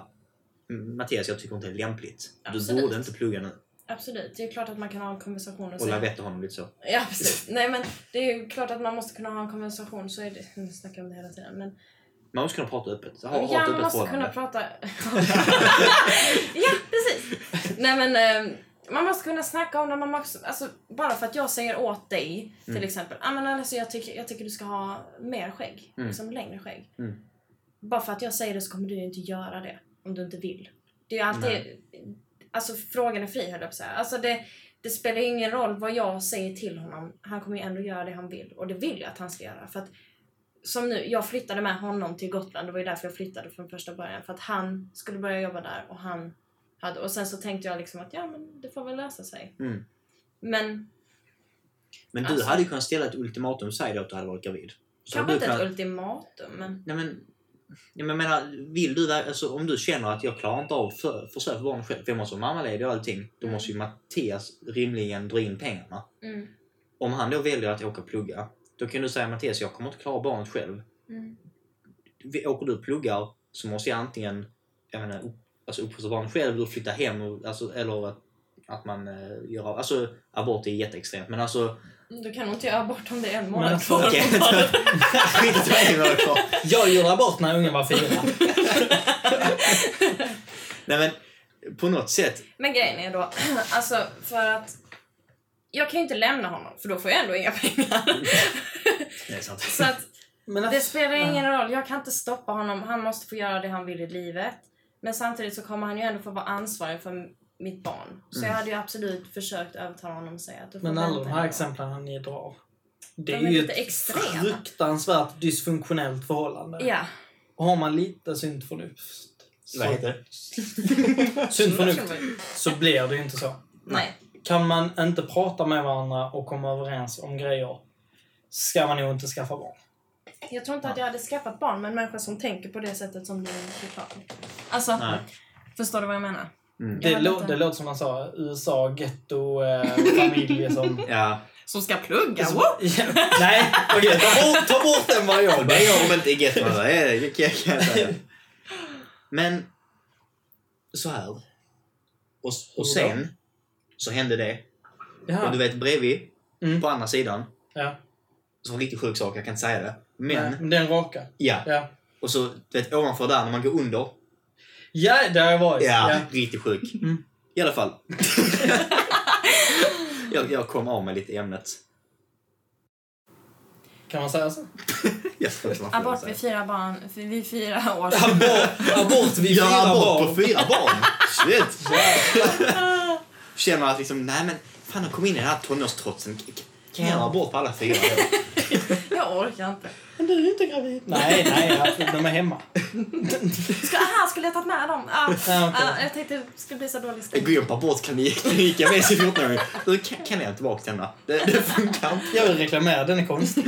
"M- Mattias, jag tycker inte det är lämpligt. Du Absolut. borde inte plugga nu. Absolut, det är klart att man kan ha en konversation och Och säga... lavetta honom lite så. Ja, precis. Nej, men det är ju klart att man måste kunna ha en konversation. Så är det... Nu snackar jag om det hela tiden. Men... Man måste kunna prata öppet. Ha, ha Ja, ett man öppet måste kunna förhållande. prata... ja, precis! Nej, men... ehm, Man måste kunna snacka om det. Man måste, alltså, bara för att jag säger åt dig, till Mm. exempel. Ah, men alltså, jag, tycker, jag tycker du ska ha mer skägg. Mm. Liksom längre skägg. Mm. Bara för att jag säger det så kommer du ju inte göra det. Om du inte vill. Det är ju alltid... Alltså frågan är fri höll jag på att säga. Alltså det, det spelar ju ingen roll vad jag säger till honom. Han kommer ju ändå göra det han vill. Och det vill jag att han ska göra. För att som nu, jag flyttade med honom till Gotland. Det var ju därför jag flyttade från första början. För att han skulle börja jobba där och han hade... Och sen så tänkte jag liksom att ja men det får väl lösa sig. Mm. Men Men du Alltså- hade ju kunnat ställa ett ultimatum, säg då att du hade varit gravid. Så hade kanske du inte kunnat- ett ultimatum men... Nej men, jag men- menar, vill du, ver- alltså, om du känner att jag klarar inte av för, försök för barn själv, för jag måste vara mammaledig och allting, då måste ju Mattias rimligen dra in pengarna. Mm, Om han då väljer att åka och plugga, då kan du säga Mattias, jag kommer inte klara barnet själv. mm, Vi- Åker du och pluggar så måste jag antingen jag menar, upp, alltså uppfostra barnet själv, eller flytta hem, och, alltså, eller att, att man eh, gör av- Alltså abort är jätteextremt, men alltså... du Mm, kan nog inte göra bort om det är en Men- månad kvar. Okej, skit i vad jag har kvar. Jag gjorde abort när ungen var fyra. Nej men, på något sätt, Men grejen är då, alltså för att jag kan ju inte lämna honom för då får jag ändå inga pengar. det är sant. Så att Men det att, spelar ingen roll, jag kan inte stoppa honom. Han måste få göra det han vill i livet. Men samtidigt så kommer han ju ändå få vara ansvarig för mitt barn. Så jag hade ju absolut försökt övertala honom att säga att du får Mm. men alla vänta de här en exemplen han ni drar. Det De är är ju lite ett extrema. fruktansvärt dysfunktionellt förhållande. gång. Ja. Och har man lite sunt förnuft. Vad heter det? Sunt Så- förnuft. Så blir det ju inte så. Nej. Kan man inte prata med varandra och komma överens om grejer ska man nog inte skaffa barn. Jag tror inte att jag hade skaffat barn med en människa som tänker på det sättet som du förklarar. Alltså, Nej. förstår du vad jag menar? Mm. Det, Jag hade lå- inte- det låter som man sa, USA, getto, eh, familj som... Ja. Som ska plugga, som- wow! Ja, Nej, okej. ta bort- ta bort den variabeln. Det gör de inte i Get Mother, det är- det kan jag- kan jag säga. Men så här. Och, och sen så hände det. Och du Jaha. vet bredvid, Mm. på andra sidan, Ja. så var det en riktigt sjuk sak, jag kan inte säga det. Men, Men. Den raka. ja. Ja. Och så du vet, ovanför där, när man går under. Ja, där har jag varit. Ja, Ja. riktigt sjuk. Mm. I alla fall. jag, jag kom av med lite i ämnet. Kan man säga så? Jag ska inte varför jag Abort säger. vid fyra barn, för vid fyra år. Abort, abort vid Göra fyra abort barn. på fyra barn? Shit! Känner att liksom, nej men fan de kom in i den här tonårstrotsen. K- k- Kan jag göra abort på alla fyra? Jag orkar inte. Men du är inte gravid. Nej, nej. ja, De är hemma. Ska, aha, skulle jag tagit med dem? Ah, Ja, okej. ah, jag tänkte det skulle bli så dålig Jag stämning. går in på abortkliniken med sin 14-åring. Du, kan, kan jag inte tillbaka till henne? Det, det funkar inte. Jag vill reklamera, den är konstig.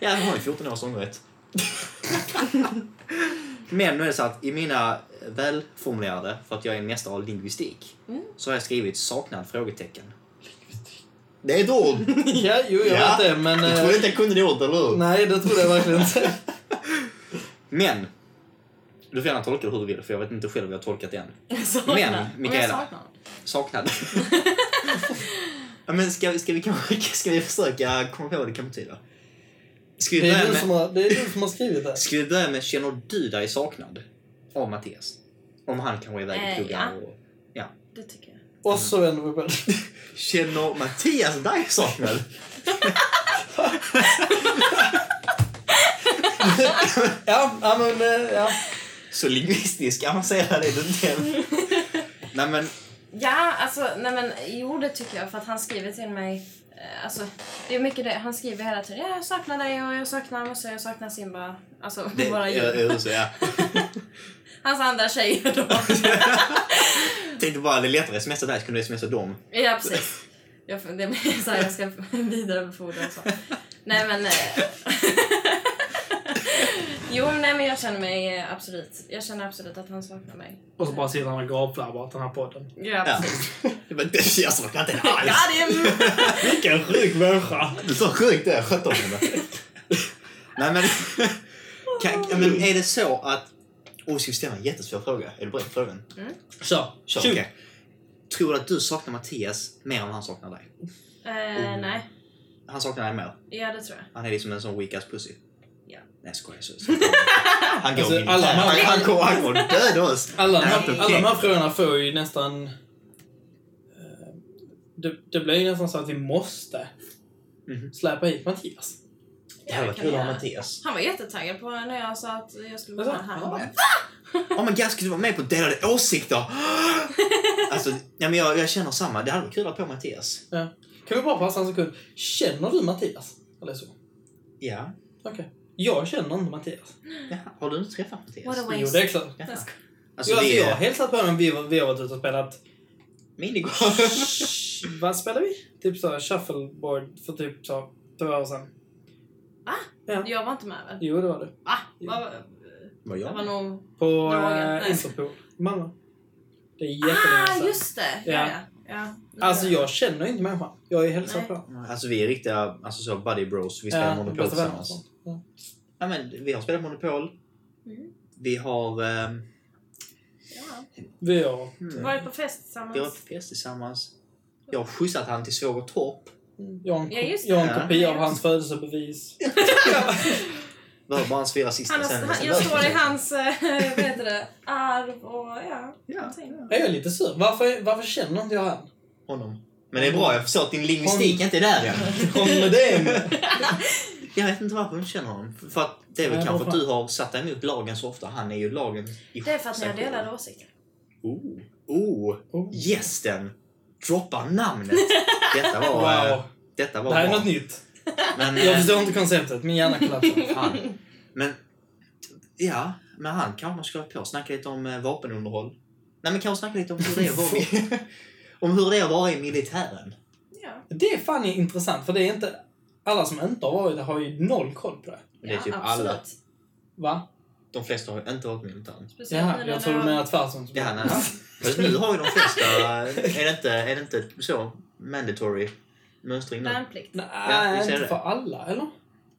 Ja, jag har ju 14 års ångerrätt. Men nu är det så att i mina välformulerade, för att jag är nästa av lingvistik, Mm. så har jag skrivit saknad? frågetecken. Det är ett ord! Ja, jo, jag Ja. vet det, men... Jag eh, trodde inte jag kunde det ordet, eller hur? Nej, det trodde jag verkligen inte. Men! Du får gärna tolka det hur du vill, för jag vet inte själv hur jag har tolkat det än. Jag saknar- Men, om jag Mikaela. saknar dem. Saknad. ja, men ska, vi- ska, vi, kanske- ska vi försöka komma på vad det kan betyda? Ska vi, Det är börja du som med, har, det är du som har skrivit det. ska vi börja med känner du dig saknad av Mattias? Om han kanske är iväg Eh, och pluggar. ja. och- Det tycker jag. Och så vänder vi på det. Känner Mattias dig saknad? Ja, ja men... eh, Ja. Så lingvistisk avancerad är du inte än. Nej men, Ja, alltså, nej men jo det tycker jag för att han skriver till mig, eh, alltså det är mycket det, han skriver hela tiden, ja, jag saknar dig och jag saknar Musse och jag saknar Simba, alltså det våra är djur. är så ja. Hans andra tjejer då. Tänkte bara, det är lättare att smsa dig så kan du smsa dem. ja precis. Jag, det blir så här, jag ska vidarebefordra och så. Nej men... eh, jo, nej men jag känner mig eh, absolut, jag känner absolut att han saknar mig. Och så bara sitter han och gravflabbar åt den här podden. Ja, Ja. precis. Det var det jag saknar inte en Ja, alls. det är... Vilken sjuk människa! Du sa sjukt det, sköt om henne. Nej men, kan, men är det så att... Oj, ska vi ställa en jättesvår fråga? Är du beredd på frågan? Kör! Kör, Shoot. okej. Tror du att du saknar Mattias mer än vad han saknar dig? Eh, nej, Han saknar dig mer. ja det tror jag. Han är liksom en sån weak ass pussy. Ja. Nej jag skojar. Så, så. Han går Alltså, in. alla- han, han kommer han kommer döda oss. Alla, de Nej, här- alla okej. de här frågorna får ju nästan... eh, Det, det blir ju nästan så att vi måste Mhm. släpa hit Mattias. Det hade varit kan kul att jag ha göra. Mattias. Han var jättetaggad på när jag sa att jag skulle vara Jaså? med här. Ja. Han bara, Oh my god, ska du vara med på delade åsikter? alltså, ja, men jag, jag känner samma. Det hade varit kul att ha på Mattias. Kan vi bara passa en sekund? Känner du Mattias? Eller så? Ja. Okej. Jag känner inte Mattias. ja. Har du inte träffat Mattias? What a Jo, waste. det är klart. Ja. Jag skojar. Alltså, jo, alltså, vi Jag har är hälsat på honom. Vi, vi har varit ute och spelat... minigolf. Vad spelar vi? Typ så här shuffleboard för typ så två år sedan. Jag var inte med väl? Jo, det var det. Va? Jo. Vad- Vad Det var jag? nog... På Dagen, nej. eh, Interpol. Malmö. Det är jättelänge Ah, sedan. just det! Ja, Ja. ja. ja. Alltså, jag känner inte människan. Jag har ju hälsat Nej. på honom. Alltså vi är riktiga alltså, så buddy bros. Vi spelar Monopol bästa vänner och tillsammans. sånt. Ja. Ja, men, vi har spelat Monopol. Mm. Vi har, ehm, hmm, Ja. Vi har... Varit på fest vi har varit tillsammans. på fest tillsammans. Jag har skjutsat han till Svågertorp. Jag har en, Mm. Ja, just det. jag har Ja. en kopia av hans födelsebevis. Behöver bara hans fyra sista Han har, sen. han, jag står i hans, eh, vad heter det, arv och ja. Ja, någonting. Jag är lite sur. Varför, varför känner inte jag han? honom. Men det är bra, jag förstår att din lingvistik inte är där än. Kom med det! Jag vet inte varför jag inte känner honom. För att det är väl Nej, kanske att varför? du har satt dig emot lagen så ofta. Han är ju lagen i Det är för att ni sig har själv. delade åsikter. Oh, oh, Oh. gästen droppar namnet. Detta var... eh, Wow. Detta var Det här är bra. något nytt. Men, Jag eh, förstår inte konceptet. Min hjärna kollapsar. fan. Men, ja, men han kanske man skulle ha på. Snacka lite om eh, vapenunderhåll. Nej, men kanske snacka lite om hur det är att vara, om hur det är att vara i militären. Ja. Det är fan intressant, för det är inte... Alla som inte har varit det har ju noll koll på det. Det är Ja, typ absolut. alla. Va? De flesta har ju inte varit i militären. Speciellt Jaha, nu jag när tror du jag- menar tvärtom. Ja, nej. Fast nu har ju de flesta... Är det inte, är det inte så mandatory mönstring nu? Värnplikt. Ja, vi Nej, ser inte det. för alla, eller?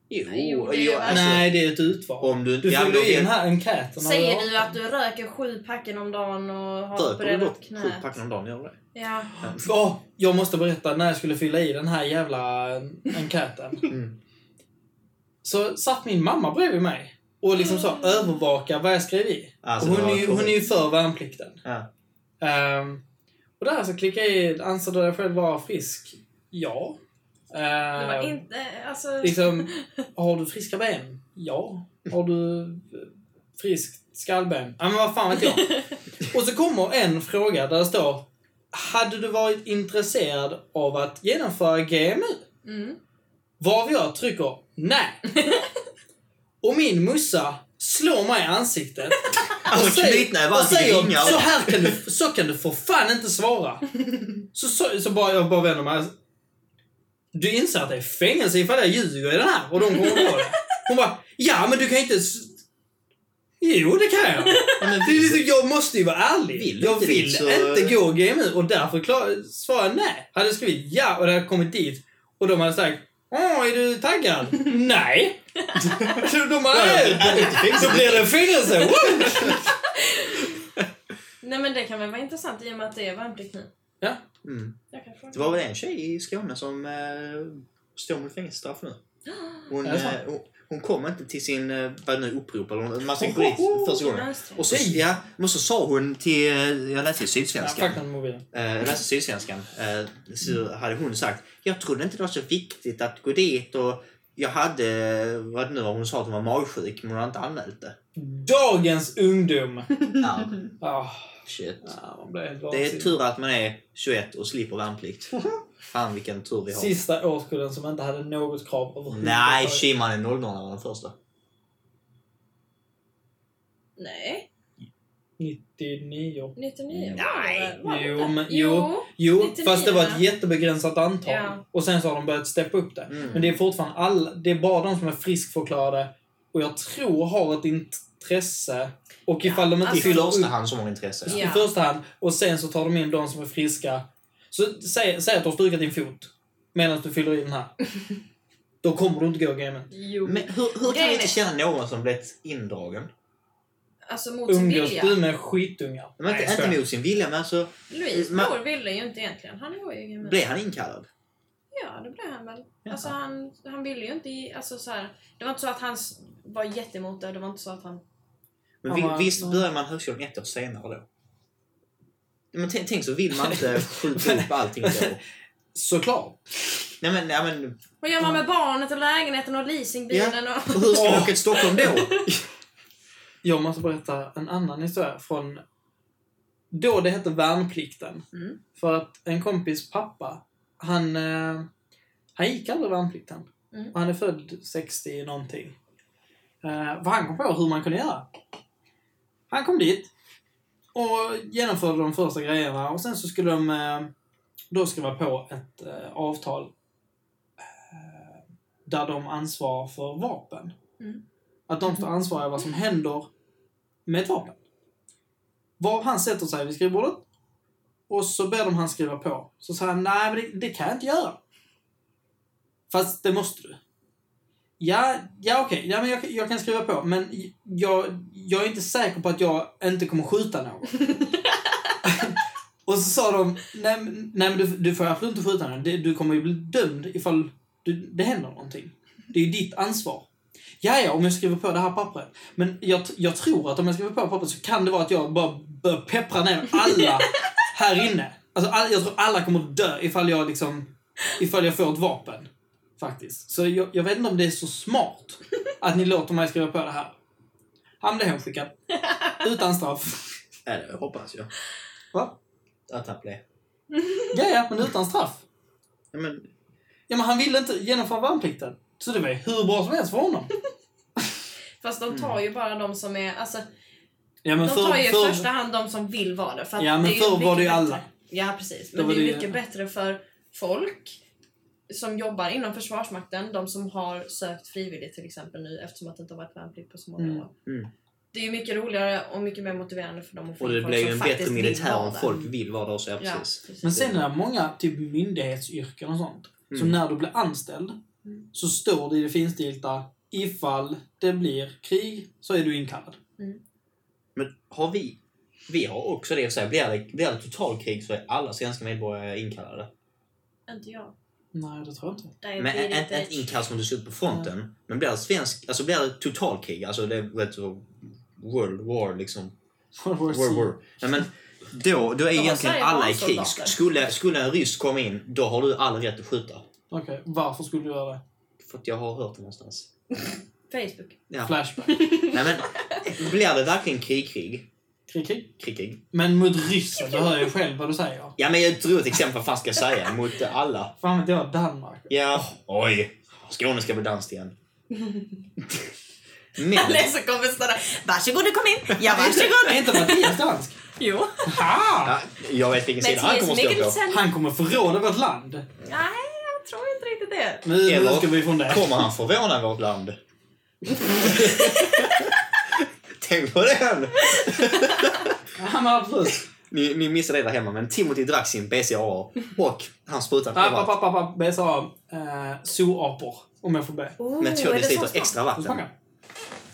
Jo, det är jo, ju- alltså, Nej, det är ett utval. Om du inte... Du ja, men fyller då- ju in här enkäten. när Säger var du 18. att du röker sju packen om dagen och har Röker du opererat dock sju knät? packen om dagen? Gör du det? Alltså, Ja. Åh, jag måste berätta när jag skulle fylla i den här jävla eh, enkäten. Mm. Så satt min mamma bredvid mig och liksom så övervakade vad jag skrev i. Alltså, och det hon, var är ju, covid. hon är ju för värnplikten. Ja. Ehm, och där så klickade jag i, anser du dig själv vara frisk? Ja. Ehm, Det var inte, alltså... liksom, har du friska ben? Ja. Har du eh, friskt skallben? Ja, men vad fan vet jag. Och så kommer en fråga där det står Hade du varit intresserad av att genomföra GMU? Mm. Varav jag trycker nej. Och min mussa slår mig i ansiktet och Alltså säger, knytnävar, och säger allting ringar. så här kan du, så kan du för fan inte svara. Så, så, så bara, jag bara vänder mig. Du inser att det är fängelse ifall jag ljuger i den här och de kommer på det. Hon bara, ja men du kan ju inte... s- Jo, det kan jag. Ja, men Det är liksom, jag måste ju vara ärlig. Vill du jag inte vill dit så- inte gå GMU och därför klar, svarar jag nej. Hade jag skrivit ja och det hade kommit dit och de hade sagt Åh, är du taggad? nej! Så de hade, så blir det fängelse! Woo! Nej men det kan väl vara intressant i och med att det är värnplikt nu. Mm. Jag kan fråga. Det var väl en tjej i Skåne som eh, står mot fängelsestraff nu. Hon, Är det sant? eh, hon, hon kom inte till sin eh, vad det nu upprop eller en massa polis första gången. Mönstring. Och så, Nej. ja, men så sa hon till, eh, jag läste i Ja, Sydsvenskan. Fuck den mobilen. Eh, Jag läste Sydsvenskan. eh, Så hade hon sagt, jag trodde inte det var så viktigt att gå dit och jag hade, vad det nu var, hon sa att hon var magsjuk men hon hade inte anmält det. Dagens ungdom! Ja, Ah, typ shit. ja, man blir helt Det är vansinnig. tur att man är 21 och slipper värnplikt. Fan vilken tur vi har. Sista årskullen som inte hade något krav överhuvudtaget. Nej, Shiman är 00 när han var den första. Nej, 99. 99 Nej. var det väl? Jo, men- jo. Jo, 99, fast det var ett ja. jättebegränsat antal. Ja. Och sen så har de börjat steppa upp det. Mm. Men det är fortfarande alla, det är bara de som är friskförklarade och jag tror har ett intresse. Och ifall de inte alltså- I fyller första upp hand som har intresse. i Ja. första hand och sen så tar de in de som är friska. Så säg, säg att du har stukat din fot medan du fyller i den här. Då kommer du inte gå gamen. jo. Men hur, hur kan Grejen är- vi inte känna någon som blivit indragen? alltså mot sin Umgås vilja. du med skitungar? Men inte, jag skojar. inte mot sin vilja, men alltså, Louise Ma- bror ville ju inte egentligen. Han var ju med. blev han inkallad? Ja, det blev han väl. Jaha. Alltså han, han ville ju inte... i- Alltså, så här, det var inte så att han s- var jätteemot det. Det var inte så att han... Men Ja, vi, men- visst börjar man högskolan ett år senare då? Men tänk, tänk så vill man inte skjuta upp allting då. Såklart. Nej men, nej, men Vad gör man med barnet och lägenheten och leasingbilen? och Och... hur ska vi Åh. åka till Stockholm då? Jag måste berätta en annan historia från då det hette värnplikten. Mm. För att en kompis pappa, han, eh, han gick aldrig värnplikten. Mm. Och Han är född 60 någonting. Eh, för han kom på hur man kunde göra. Han kom dit och genomförde de första grejerna och sen så skulle de eh, då skriva på ett eh, avtal eh, där de ansvarar för vapen. Mm. Att de står ansvariga vad som händer med ett vapen. Var han sätter sig vid skrivbordet och så ber de han skriva på. Så säger han, nej men det, det kan jag inte göra. Fast det måste du. Ja, ja okej, ja, men jag, jag kan skriva på men j- jag, jag är inte säker på att jag inte kommer skjuta någon. och så sa de, nej, men- nej men du, du får absolut inte skjuta någon. Du, du kommer ju bli dömd ifall du, det händer någonting. Det är ju ditt ansvar. Ja, ja, om jag skriver på det här pappret. Men jag, t- jag tror att om jag skriver på pappret så kan det vara att jag bara börjar peppra ner alla här inne. Alltså, all, jag tror alla kommer att dö ifall jag liksom, ifall jag får ett vapen. Faktiskt. Så jag, jag vet inte om det är så smart att ni låter mig skriva på det här. Han blev hemskickad. Utan straff. Ja, Äh, det hoppas jag. Va? Att han blev. Ja, ja, men utan straff. Ja, men, Ja, men han ville inte genomföra värnplikten. Så det var ju hur bra som helst för honom. Fast de tar ju bara de som är... Alltså, Ja, men de tar ju i första hand de som vill vara det. För att Ja, men det är ju förr mycket var det ju bättre. alla. Ja, precis. Då Men var det är det ju- mycket bättre för folk som jobbar inom Försvarsmakten, de som har sökt frivilligt till exempel nu eftersom att det inte har varit värnplikt på så många Mm, år. mm. Det är ju mycket roligare och mycket mer motiverande för dem att få och det in folk blir ju som en bättre faktiskt vill militär vara om där. folk vill vara där också, ja, Ja, precis. precis. Men sen är det många typ myndighetsyrken och sånt. Så Mm. när du blir anställd Mm. så står det i det finstilta ifall det blir krig så är du inkallad. Men har vi... Vi har också det, så här, blir det, blir det totalkrig så är alla svenska medborgare inkallade. Inte jag. Nej, det tror jag inte. Nej, Men det är inte inte- ett inkast som du ser ut på fronten. Men blir det svensk, alltså blir det totalkrig, alltså det vet du, World War liksom. World War World Z. War. Nej, men då, då är har egentligen Sverige alla i krig. barnsoldater. Skulle, skulle en ryss komma in, då har du all rätt att skjuta. Okej, varför skulle du göra det? För att jag har hört det någonstans. Facebook. Ja. Flashback. Nej men, blir det verkligen krig-krig? Krig, krig. Krig-krig? Men mot ryssen, du hör ju själv vad du säger. Ja men jag tror ett exempel vad fan ska jag säga mot alla. Fan vet jag, Danmark. Ja, oj. Skåne ska bli danskt igen. Men, Alla är så kompisar där. Varsågod du kom in. Ja, Är inte- Är varsågod. inte Mattias dansk? jo. Ha! ja, jag vet vilken sida han Mattias kommer att stå på. Mikkelsen. Han kommer förråda vårt land. Nej, jag tror inte riktigt det. Nu, nu Eller ska vi ifrån det. Kommer han förvåna vårt land? Tänk på den! Ja, men absolut. Ni, ni missade det där hemma, men Timothy drack sin BCAA och han sprutade Papp, på papp, vatten. papp, papp. BSA. Eh, Zooapor. Om jag får be. Oh, Men 2 är det så deciliter smart? extra Får vatten. smaka?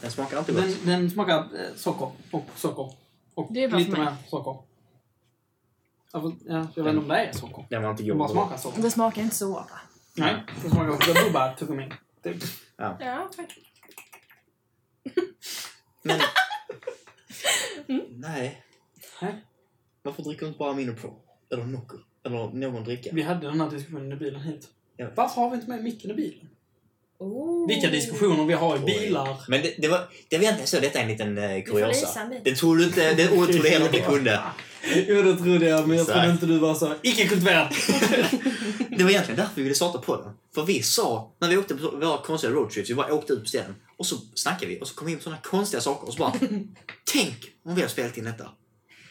Den smakar inte Den, gott. den smakar eh, socker och socker. Och Det är bra för lite mig. mer socker. Ja, för- ja, jag vet inte om det är socker. Den var inte Det bara god. smakar socker. Det smakar inte så va? Nej, det smakar det är bara tuggummi. Det- Ja, faktiskt. Men... Mm. Nej. Nej. Varför dricker du inte bara Amino Pro? Eller Nocco? Eller någon dricka? Vi hade den här diskussionen i bilen hit. Jag vet. Varför har vi inte med micken i bilen? Oh. Vilka diskussioner vi har i bilar. Men det, det var... Det var egentligen så, detta är en liten eh, Du får visa kuriosa. en bit. Den trodde du inte... Den ordet trodde jag heller inte kunde. Jo, det trodde jag, men jag trodde Exakt. inte du var så icke-kultiverad. Det var egentligen därför vi ville starta podden. För vi sa, när vi åkte på våra konstiga roadtrips, vi bara åkte ut på ställen. Och så snackade vi och så kom vi in på sådana konstiga saker och så bara Tänk om vi hade spelat in detta.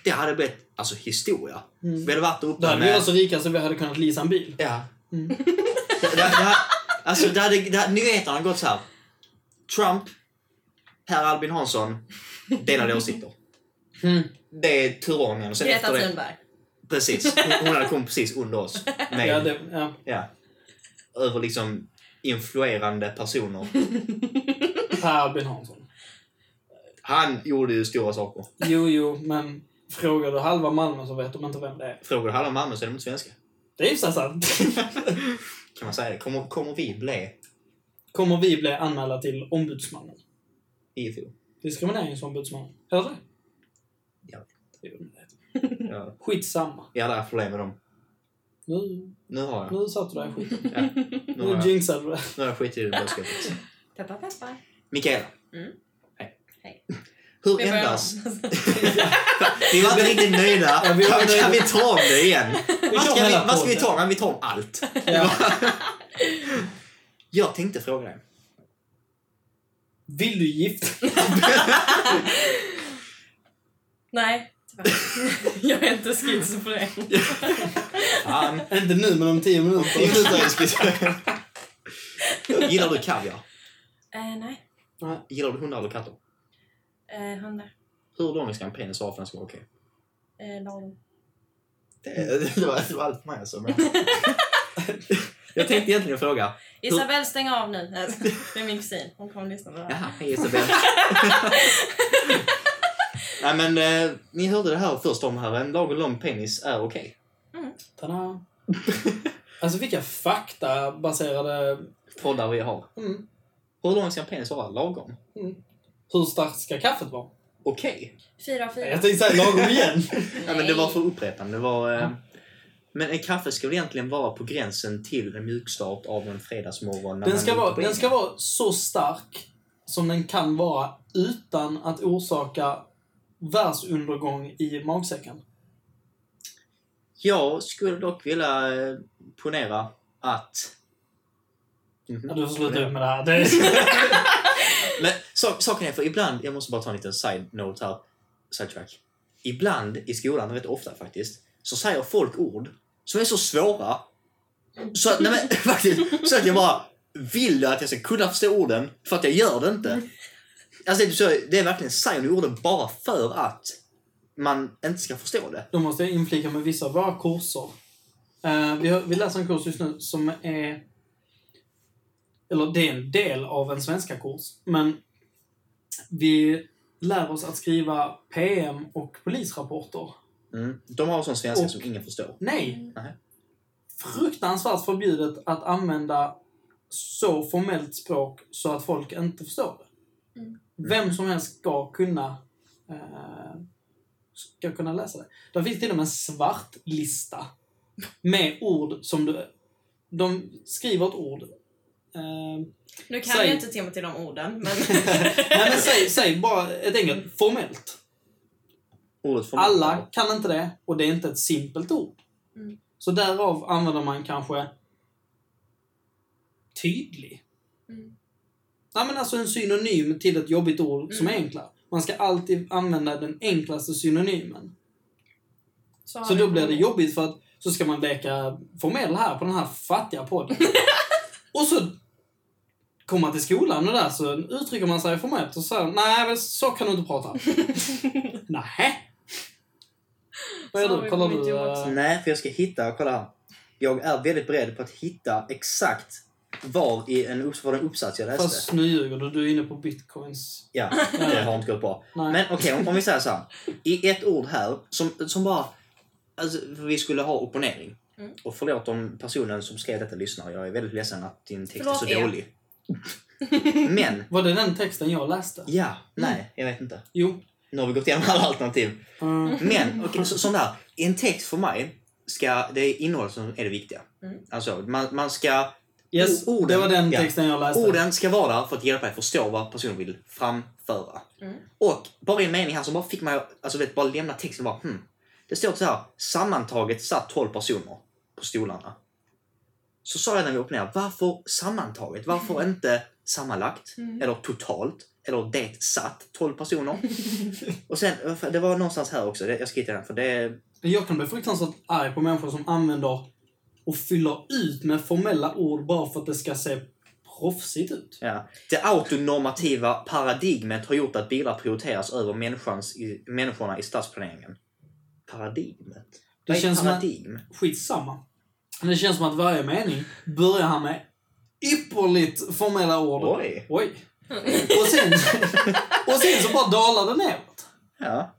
Det hade blivit, alltså historia. Mm. Vi hade varit uppe Då hade vi varit så rika så vi hade kunnat leasa en bil. Ja. Mm. Det, det, det, här- alltså, det hade, det, här- nyheterna hade gått så här. Trump, Per Albin Hansson, delade åsikter. Mm. Det är alltså- turordningen. Och sen Greta efter det, Thunberg. precis. Hon, hon hade kommit precis under oss. Med, Ja, det, ja. ja, över liksom influerande personer. Per Albin Hansson. Han gjorde ju stora saker. Jo, jo, men frågar du halva Malmö så vet de inte vem det är. Frågar du halva Malmö så är de inte svenska. Det är ju så sant. Kan man säga det? Kommer, kommer vi bli Kommer vi bli anmälda till ombudsmannen? IFO? Diskrimineringsombudsmannen. Hör du? Ja. Jo, Ja, Skitsamma. jag hade haft problem med dem. Nu, Nu har jag. nu satte du den skiten. Ja, nu har Nu jag, jinxade du det. nu har jag skit i det budskapet. Peppar, peppar. Mikaela. Mm. Hej. Hej. Hur Vi börjar ändras... om. Vi var inte riktigt nöjda. Ja, vi var Kan, nöjda. kan vi ta om det igen? Vi Vad kör ska vi, hela vad ska vi podden. ta om? Vi tar om allt. Ja. Jag tänkte fråga dig. Vill du gifta dig? Nej, tyvärr. Jag är inte schizofren. Fan. Inte nu, men om tio Det minuter. slutar jag skriva. Gillar du kaviar? Eh, nej. Gillar du hundar eller katter? Eh, hundar. Hur lång ska en penis vara för att den ska vara okej? Eh, lagom. Det, det, var, det var allt för mig alltså. Men... jag tänkte egentligen fråga. Isabel, stäng av nu. Eh, Det är min kusin. Hon kommer lyssna på det här. Jaha, hej Isabel. Nej men eh, ni hörde det här först om här. En lagom lång penis är okej. Tada. Alltså vilka faktabaserade... Poddar vi har. Mm. Hur lång ska en penis vara? Lagom? Hur starkt ska kaffet vara? Okej. Fyra av fyra. Jag tänkte säga lagom igen. Nej men det var för upprepande. Det var, eh, men en kaffe ska väl egentligen vara på gränsen till en mjukstart av en fredagsmorgon. när Den man är ska, ute vara, på den isen. ska vara så stark som den kan vara utan att orsaka världsundergång i magsäcken. Jag skulle dock vilja eh, ponera att... Mhm. Ja, du får sluta upp med det här. Det är... Men so saken är, för ibland, jag måste bara ta en liten side-note här, sidetrack. Ibland i skolan, rätt ofta faktiskt, så säger folk ord som är så svåra så att, nej men, faktiskt, så att jag bara vill att jag ska kunna förstå orden för att jag gör det inte. Alltså det är, så, det är verkligen säger orden bara för att man inte ska förstå det. Då måste jag inflika med vissa av våra kurser. Eh, vi, har, vi läser en kurs just nu som är... Eller det är en del av en svenska kurs. Men vi lär oss att skriva PM och polisrapporter. Mm. De har sån svenska Och- som ingen förstår. Nej! Nej. Fruktansvärt förbjudet att använda så formellt språk så att folk inte förstår det. Mm. Vem som helst ska kunna eh, ska kunna läsa det. Där finns till och med en svart lista med ord som du... De skriver ett ord. Eh, Nu kan Säg. ju inte Timothy de orden, men... nej men säg, säg bara ett enkelt formellt. Ordet formellt. Alla kan inte det och det är inte ett simpelt ord. Mm. Så därav använder man kanske tydlig. Mm. Ja, men alltså en synonym till ett jobbigt ord som Mm. är enklare. Man ska alltid använda den enklaste synonymen. har Så vi- då blir det jobbigt för att så ska man leka formell här på den här fattiga podden. och så komma till skolan och där så uttrycker man sig formellt och så säger de, nej men så kan du inte prata. Nähä? Vad gör Så har du? vi Kollar kommit du? till jobb också. eh, Nej, för jag ska hitta, kolla här. Jag är väldigt beredd på att hitta exakt var i en, upp- var en uppsats jag läste. Fast nu ljuger du, du är inne på bitcoins. Ja, det har inte gått bra. Nej. Men okej, om, om vi säger så här. I ett ord här, som, som bara... Alltså, för vi skulle ha opponering. Mm. Och förlåt om personen som skrev detta lyssnar. Jag är väldigt ledsen att din text är Förlåt så er. dålig. Men, Var det den texten jag läste? ja, nej, jag vet inte. Jo. Nu har vi gått igenom alla alternativ. Mm. Men, okay, så, sån där. En text för mig, ska, det är innehållet som är det viktiga. Mm. Alltså, man, man ska... Yes, O- orden. det var den Ja. texten jag läste. Alltså- Orden ska vara där för att hjälpa dig förstå vad personen vill framföra. Mm. Och bara en mening här som bara fick mig att alltså, vet, bara lämna texten och bara hmm. Det står så här. Sammantaget satt 12 personer på stolarna. Så sa jag när vi opponerade, varför sammantaget? Varför inte sammanlagt? Mm. Eller totalt? Eller det satt 12 personer? och sen, det var någonstans här också, det- jag ska hitta den för det Jag kan bli fruktansvärt arg på människor som använder och fyller ut med formella ord bara för att det ska se proffsigt ut. Ja. Det autonormativa paradigmet har gjort att bilar prioriteras över människans i, människorna i stadsplaneringen. Paradigmet? Det Vad är känns som att, paradigm? skitsamma. Men det känns som att varje mening börjar han med ypperligt formella ord. Oj. Oj. Och sen, och sen så bara dalar det neråt. Ja.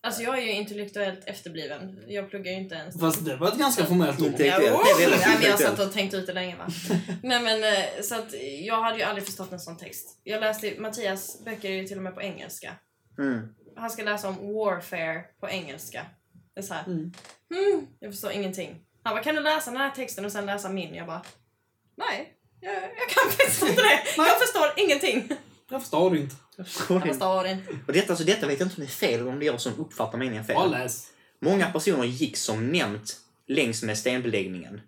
Alltså jag är ju intellektuellt efterbliven. Jag pluggar ju inte ens. Fast det var ett ganska formellt ord. Inte- Det är- det är Ja, oh! väldigt nej, men jag intellektuellt. satt och tänkte ut det länge va. Nej men eh, så att jag hade ju aldrig förstått en sån text. Jag läste ju- Mattias böcker är ju till och med på engelska. Mm. Han ska läsa om warfare på engelska. Det är så här. Mm. Hmm, jag förstår ingenting. Han bara, kan du läsa den här texten och sen läsa min? Jag bara, nej. Jag, jag kan faktiskt inte det. Jag förstår ingenting. Jag förstår det inte. Jag förstår inte. Och detta, alltså, detta vet jag inte om det är fel eller om det är jag som uppfattar meningen fel. Bara läs. Många personer gick som nämnt längs med stenbeläggningen.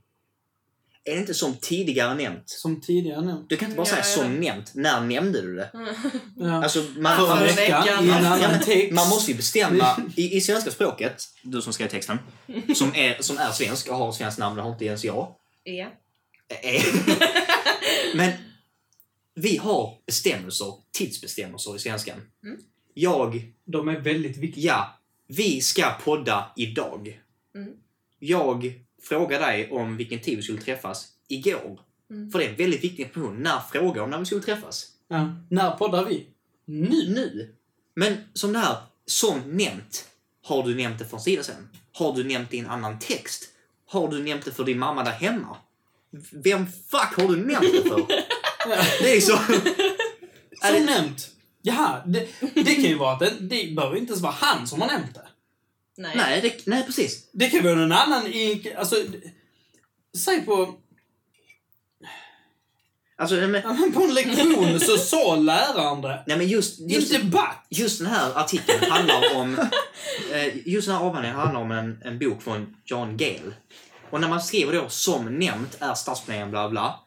Är det inte som tidigare nämnt? Som tidigare nämnt. Du kan inte bara Ja, säga jag som vet. nämnt. När nämnde du det? Ja. Alltså, man, Förra Förra man, veckan, veckan. i Mm. en Ja, annan men text. Alltså, man måste ju bestämma i, i svenska språket, du som skrev texten, som är, som är svensk och har svenskt namn, det har inte ens jag. Ja. Eh, Men vi har bestämmelser, tidsbestämmelser i svenskan. Mm. Jag, De är väldigt viktiga. ja, vi ska podda idag. Mm. Jag frågar dig om vilken tid vi skulle träffas igår. Mm. För det är en väldigt viktig information. När frågar om när vi skulle träffas? Ja. När poddar vi? Nu. Nu. Men som det här, som nämnt. Har du nämnt det för en sida sen? Har du nämnt det i en annan text? Har du nämnt det för din mamma där hemma? Vem fuck har du nämnt det för? Det är så... Som nämnt. Jaha, det, det kan ju vara att det, det behöver inte ens vara han som har nämnt det. Nej. Nej, det, nej precis. Det kan vara någon annan i... Alltså, d- säg på... Alltså, nej, men, ja, men På en lektion så sa läraren det. nej, men just, just, Inte back. just den här artikeln handlar om... eh, Just den här avhandlingen handlar om en, en bok från John Gale. Och när man skriver då som nämnt är stadsplaneringen bla bla.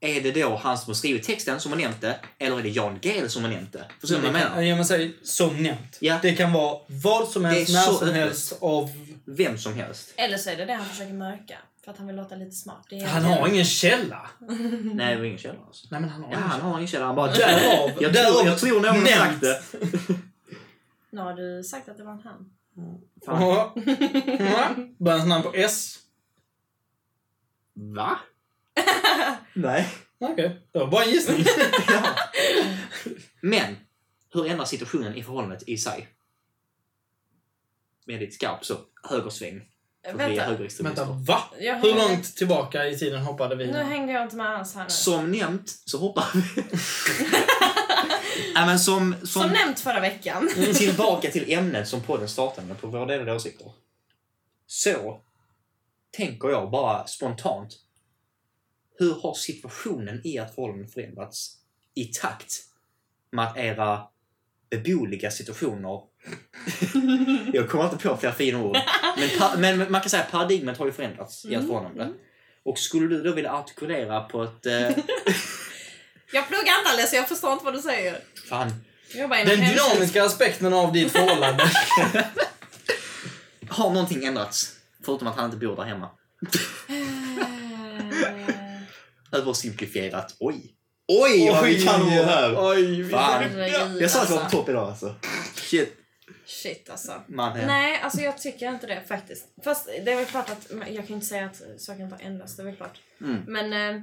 Är det då han som har skrivit texten som har nämnt det? Eller är det John Gale som har nämnt det? Förstår du vad jag menar? Ja, men säg som nämnt. Ja. Det kan vara vad som är helst, så när som öppet. helst av... Vem som helst. Eller så är det det han försöker mörka. För att han vill låta lite smart. Det är Han har ingen källa. Nej, det var ingen källa alltså. Nej, men han har Ja, ingen han källa. har ingen källa. Han bara... Mm. Därav. Jag därav tror, jag tror någon har sagt nämnt. det. Nu har du sagt att det var en han. Fan. Ja. Ja. Börjar hans namn på S? Va? Nej. Okej, det var bara en gissning. Ja. Men, hur ändrar situationen i förhållandet i sig? Väldigt skarp så, högersväng. För vi är Vänta. Vänta, högerextremister. va? Jag Hur hängde- långt tillbaka i tiden hoppade vi? Nu hängde jag inte med alls här nu. Som nämnt så hoppar vi. Nej, men som, som, Som nämnt förra veckan. tillbaka till ämnet som podden startade med, på våra delade åsikter. Så tänker jag bara spontant. Hur har situationen i ert förhållande förändrats i takt med att era beboeliga situationer... jag kommer inte på fler fina ord. Men, pa- men man kan säga att paradigmet har ju förändrats i ert Mm, förhållande. Och skulle du då vilja artikulera på ett... Eh, Jag pluggar inte alls, så jag förstår inte vad du säger. fan. Jag jobbar inom Den hemtjänst. dynamiska aspekten av ditt förhållande. Har någonting ändrats? Förutom att han inte bor där hemma. Eh, översimplifierat. Oj! Oj, vad vi kan ord här! Oj, vi Fan. herregud, Jag sa att jag var på alltså. topp idag alltså. Shit. Shit alltså. Man, eh, Nej, alltså jag tycker inte det faktiskt. Fast det är väl klart att, men jag kan inte säga att saker inte har ändrats, det är väl klart. Mm. Men eh,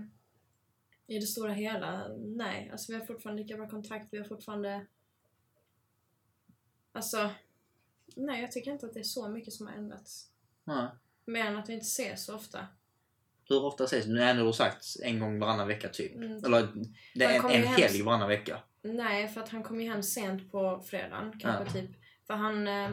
i det stora hela, nej. Alltså vi har fortfarande lika bra kontakt, vi har fortfarande... Alltså, nej jag tycker inte att det är så mycket som har ändrats. Nej. Mer än att vi inte ses så ofta. Hur ofta ses ni? Nej, det har sagt en gång varannan vecka typ. Mm. Eller det Man är en, kommer en ju hem- helg varannan vecka. Nej, för att han kom ju hem sent på fredagen. Kanske Ja. typ. För han, eh,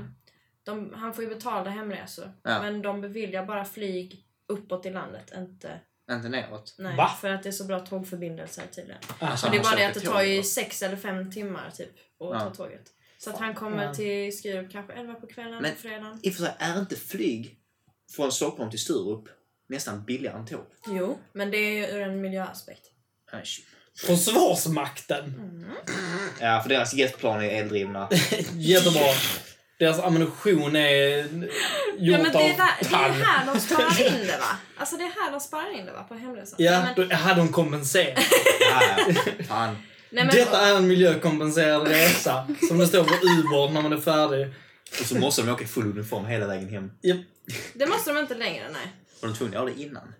de, han får ju betalda hemresor. Ja. Men de beviljar bara flyg uppåt i landet. Inte, Inte neråt. nej, Va? För att det är så bra tågförbindelser tydligen. Alltså, Så det är han bara det köper att det tåg, tar ju va? sex eller fem timmar typ att Ja. ta tåget. Så att han kommer Ja. till Skurup kanske 11 på kvällen Men- på fredagen. I och för sig, är inte flyg från Stockholm till Sturup nästan billigare än tåg? Jo, men det är ju ur en miljöaspekt. Nej, shit. Försvarsmakten. Ja, för deras jetplan är eldrivna. Jättebra. Deras ammunition är gjort Ja, men det, är av där, det är tall. här de sparar in det va? Alltså det är här de sparar in det va? På hemresan. Ja, men, då hade de kompenserat. Ja, ja. Fan. nej, men, Detta är en miljökompenserad resa som det står på Uber när man är färdig. Och så måste de åka i full uniform hela vägen hem. Japp. det måste de inte längre, nej. Var de tvungna att göra det innan?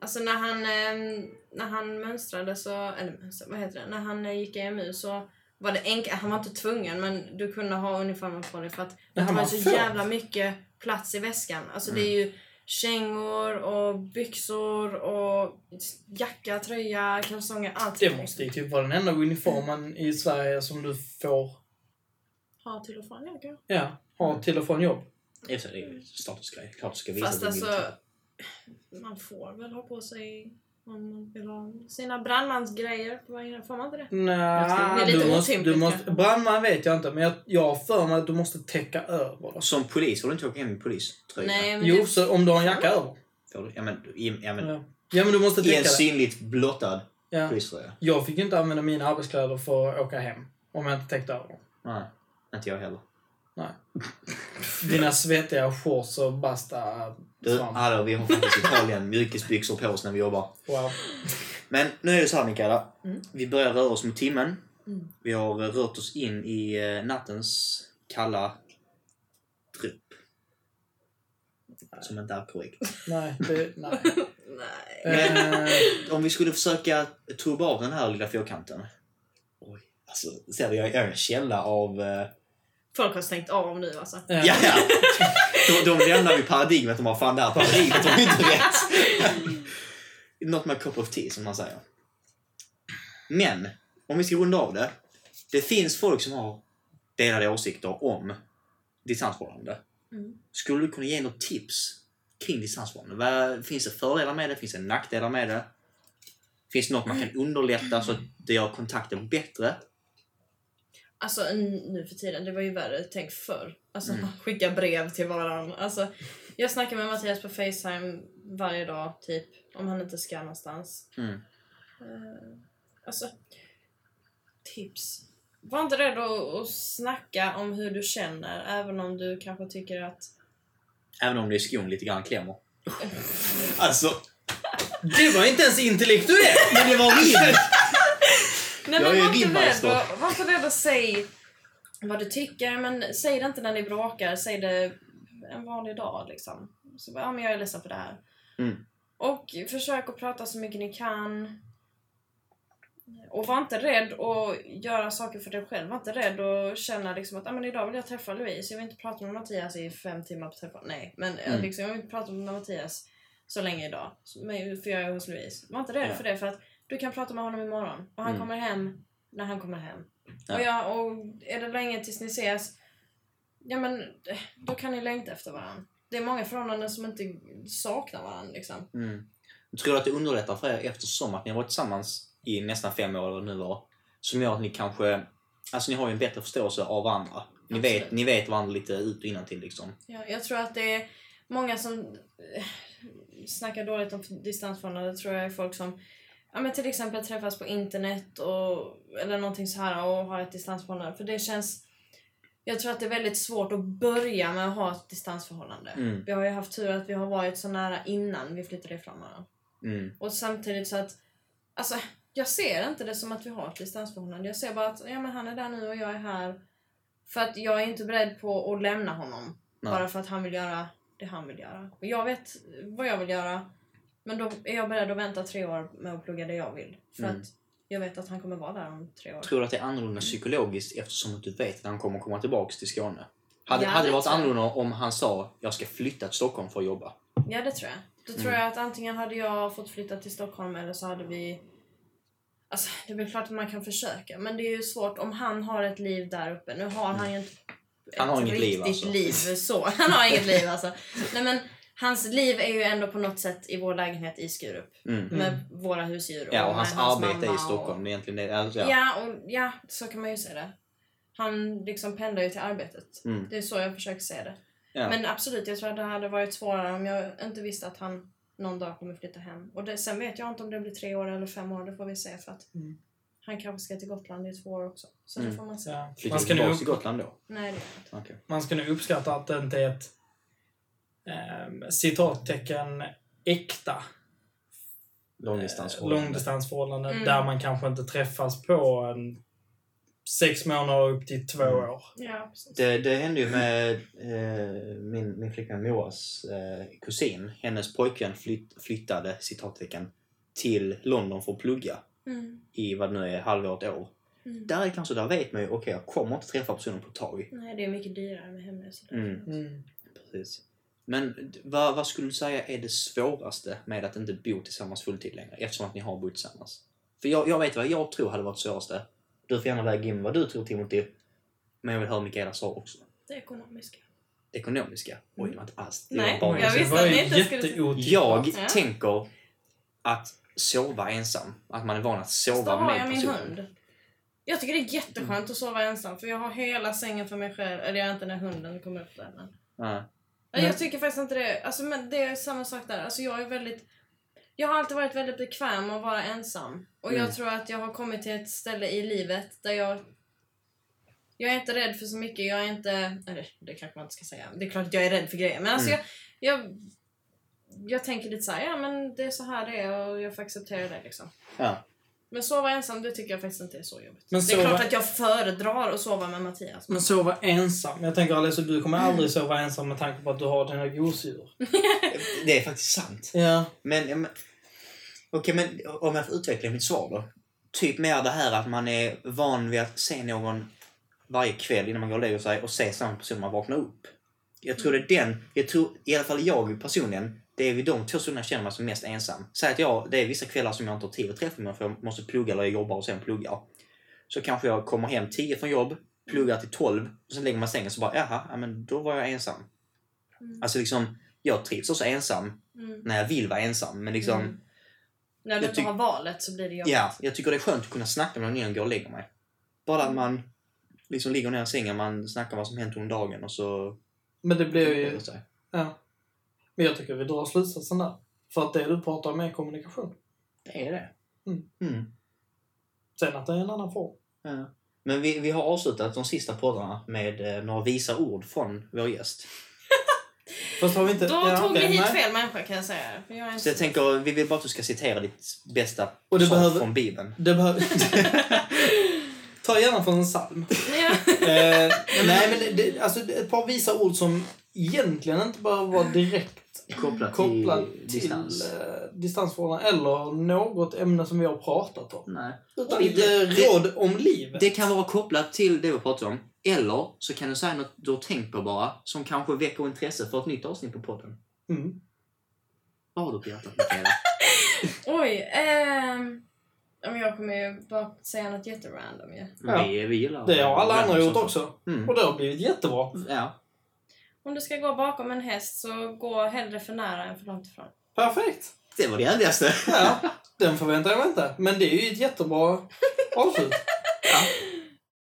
Alltså när han, eh, när han mönstrade så, eller mönstrade, vad heter det, när han eh, gick i EMU så var det enkelt, han var inte tvungen men du kunde ha uniformen på dig för att Det det här Mm. var man så får. jävla mycket plats i väskan. Alltså det är ju kängor och byxor och jacka, tröja, kalsonger, allt. liksom. Det måste ju typ vara den enda uniformen i Sverige som du får Ha till och från jacka. ja, ha till och från jobb. I och för sig, det är ju statusgrej. Klart du ska visa Fast att du vill alltså, till. man får väl ha på sig om man vill ha sina brandmansgrejer på vägen. Får man inte det? Nej, Det är lite du måste, otympligt du måste, kanske. brandman vet jag inte, men jag, jag har för mig att du måste täcka över. det. Som polis får du inte åka hem i poliströja. Nej, Mm. men Jo, det- så om du har en jacka över. Får du? Ja, men, i, ja, Mm. men, Ja. ja, men du måste I en täcka det. synligt blottad Ja. poliströja. Jag fick ju inte använda mina arbetskläder för att åka hem. Om jag inte täckte över dem. Nej, inte jag heller. Dina svettiga shorts och basta... Du, svamp. hallå, vi har faktiskt Italien mjukisbyxor på oss när vi jobbar. Wow. Men nu är det så här Mikaela. Mm. Vi börjar röra oss mot timmen. Mm. Vi har eh, rört oss in i eh, nattens kalla dropp. Som inte är korrekt. Nej, det, nej. Nej. Eh, Om vi skulle försöka tubba av den här lilla fyrkanten. Oj, alltså, ser du, jag är en källa av... eh, Folk har stängt av nu alltså. eh, Ja, ja. De, de lämnar ju paradigmet. De bara, fan det här paradigmet var ju inte rätt. Not my cup of tea, som man säger. Men, om vi ska runda av det. Det finns folk som har delade åsikter om distansförhållande. Mm. Skulle du kunna ge något tips kring distansförhållande? Vad- Finns det fördelar med det? Finns det nackdelar med det? Finns det något man kan underlätta så att det gör kontakten bättre? Alltså n- nu för tiden, det var ju värre tänk förr. Alltså Mm. skicka brev till varandra. Alltså, jag snackar med Mattias på Facetime varje dag typ. Om han inte ska någonstans. Mm. Eh, alltså, tips. Var inte rädd att, att snacka om hur du känner. Även om du kanske tycker att... Även om det är skon lite grann klämmer. alltså, det var inte ens intellektuellt! men det var min! Nej, men Jag är var, inte rädd, rimmaestro. att- var inte rädd att säga vad du tycker. Men säg det inte när ni bråkar. Säg det en vanlig dag liksom. Så bara, ja men jag är ledsen för det här. Mm. Och försök att prata så mycket ni kan. Och var inte rädd att göra saker för dig själv. Var inte rädd att känna liksom att ah, men idag vill jag träffa Louise. Jag vill inte prata med Mattias i fem timmar på telefon. Nej, men eh, Mm. liksom, jag vill inte prata med Mattias så länge idag. Så- men- För jag är hos Louise. Var inte rädd Ja. för det för att du kan prata med honom imorgon. Och han Mm. kommer hem när han kommer hem. Ja. Och, jag, och är det länge tills ni ses, ja men eh, då kan ni längta efter varandra. Det är många förhållanden som inte saknar varandra liksom. Mm. Jag tror att det underlättar för er eftersom att ni har varit tillsammans i nästan fem år eller nu var. Som gör att ni kanske, alltså ni har ju en bättre förståelse av varandra. Ni Absolut. vet, ni vet varandra lite ut och innantill liksom. Ja, jag tror att det är många som eh, snackar dåligt om distansförhållanden. tror jag är folk som ja, men till exempel träffas på internet och, eller någonting så här och har ett distansförhållande. För det känns... Jag tror att det är väldigt svårt att börja med att ha ett distansförhållande. Mm. Vi har ju haft tur att vi har varit så nära innan vi flyttade ifrån varandra. Mm. Och samtidigt så att... Alltså, jag ser inte det som att vi har ett distansförhållande. Jag ser bara att ja, men han är där nu och jag är här. För att jag är inte beredd på att lämna honom. Nej. Bara för att han vill göra det han vill göra. Och jag vet vad jag vill göra. Men då är jag beredd att vänta tre år med att plugga det jag vill. För Mm. att jag vet att han kommer vara där om tre år. Jag tror att det är annorlunda psykologiskt eftersom att du vet att han kommer komma tillbaks till Skåne. Hade, Ja, hade det det varit tror jag. annorlunda om han sa jag ska flytta till Stockholm för att jobba? Ja, det tror jag. Då tror Mm. jag att antingen hade jag fått flytta till Stockholm eller så hade vi... Alltså, det är väl klart att man kan försöka, men det är ju svårt om han har ett liv där uppe. Nu har han ju inte ett Han har inget liv, riktigt alltså. liv så. Han har inget liv alltså. Nej, men hans liv är ju ändå på något sätt i vår lägenhet i Skurup. Mm. Med våra husdjur Ja, och hans med arbete är mamma i och- Stockholm. Det är egentligen det. Alltså, Ja. ja. och, ja, så kan man ju se det. Han liksom pendlar ju till arbetet. Mm. Det är så jag försöker se det. Ja. Men absolut, jag tror att det hade varit svårare om jag inte visste att han någon dag kommer flytta hem. Och det, sen vet jag inte om det blir tre år eller fem år, det får vi se för att Mm. han kanske ska till Gotland i två år också. Så Mm. det får man se. Ja. Flyttar Man du ska nu tillbaks till Gotland då? Nej, det gör jag inte. Okej. man ska nu uppskatta att det inte är ett eh, citattecken äkta eh, Eh, Långdistansförhållande. långdistansförhållande Mm. där man kanske inte träffas på en sex månader upp till två Mm. år. Ja, precis. Det, det hände ju med eh, min, min flickvän Moas eh, kusin. Hennes pojkvän flytt, flyttade citattecken till London för att plugga Mm. i vad det nu är, halvår, ett år. Mm. Där är kanske, där vet man ju, okej jag kommer inte träffa personen på ett tag. Nej, det är mycket dyrare med hemresor. Mm. Precis. Men d- vad, vad skulle du säga är det svåraste med att inte bo tillsammans fulltid längre? Eftersom att ni har bott tillsammans. För jag, jag vet vad jag tror hade varit svåraste. Du får gärna väga in vad du tror Timothy. Men jag vill höra Mikaelas svar också. Det ekonomiska. det ekonomiska. Oj, det var inte alls det. Nej. var bara Jag det. visste att ni inte skulle- jätteotippat. Jag Ja. tänker att sova ensam. Att man är van att Fast då sova har med typ- jag min personen. hund. Jag tycker det är jätteskönt att sova ensam för jag har hela sängen för mig själv. Eller jag är inte när hunden kommer upp där. Men. Ja. Nej, Men- Jag tycker faktiskt inte det. Alltså, men det är samma sak där. Alltså, jag är väldigt... Jag har alltid varit väldigt bekväm med att vara ensam. Och Mm. jag tror att jag har kommit till ett ställe i livet där jag... Jag är inte rädd för så mycket. Jag är inte... Eller det kanske man inte ska säga. Det är klart att jag är rädd för grejer. Men alltså Mm. jag... jag jag tänker lite så här, ja men det är så här det är och jag får acceptera det liksom. Ja. Men sova ensam, det tycker jag faktiskt inte är så jobbigt. Men Det är sova- klart att jag föredrar att sova med Mattias. Men sova ensam. Jag tänker Alessa, du kommer aldrig sova ensam med tanke på att du har dina gosedjur. Det är faktiskt sant. Ja. Men, ja, men okej, men om jag får utveckla mitt svar då. Typ mer det här att man är van vid att se någon varje kväll innan man går och lägger sig och se samma person när man vaknar upp. Jag tror det är den, jag tror, i alla fall jag personligen, det är vid de två stunderna jag känner mig som mest ensam. Säg att jag, det är vissa kvällar som jag inte har tid att träffa mig för jag måste plugga eller jag jobbar och sen pluggar. Så kanske jag kommer hem 10 från jobb, pluggar till 12 och sen lägger man sängen så bara jaha, ja, men då var jag ensam. Mm. Alltså liksom, jag trivs också ensam Mm. när jag vill vara ensam. Men liksom, Mm. När Jag du inte tyck- har valet så blir det jobbigt. ja, jag tycker det är skönt att kunna snacka med någon innan jag går och lägger mig. Bara Mm. att man liksom ligger ner i sängen, man snackar vad som hänt under dagen och så... Men det blir ju... lägger sig. Ja. Men jag tycker vi drar slutsatsen där. För att det du pratar om är kommunikation. Det är det. Mm. Mm. Sen att det är en annan form. Ja. Men vi, vi har avslutat de sista poddarna med eh, några visa ord från vår gäst. Fast har vi inte... Då ja, tog ni okej, hit nej. fel människa kan jag säga. För jag är en... Så jag tänker, vi vill bara att du ska citera ditt bästa Och det psalm behöver- från Bibeln. Det behöver... Ta gärna från en psalm. Ja. eh, nej, men det, det, alltså, ett par visa ord som egentligen inte behöver vara direkt Kopplat kopplade till till distans. eh, distansförhållanden eller något ämne som vi har pratat om. Nej. Utan Och lite det- råd om livet. Det kan vara kopplat till det vi pratar om. Eller så kan du säga något du har tänkt på bara som kanske väcker intresse för ett nytt avsnitt på podden. Mm. Vad har du på hjärtat Mikaela? Oj. ehm, ja, men jag kommer ju bara säga något jätterandom ju. Ja. Vi, vi gillar Det har alla andra gjort sånt. också. Mm. Och det har blivit jättebra. Ja. Om du ska gå bakom en häst så gå hellre för nära än för långt ifrån. Perfekt! Det var det ärligaste. Ja, den förväntar jag mig inte. Men det är ju ett jättebra avslut. Ja.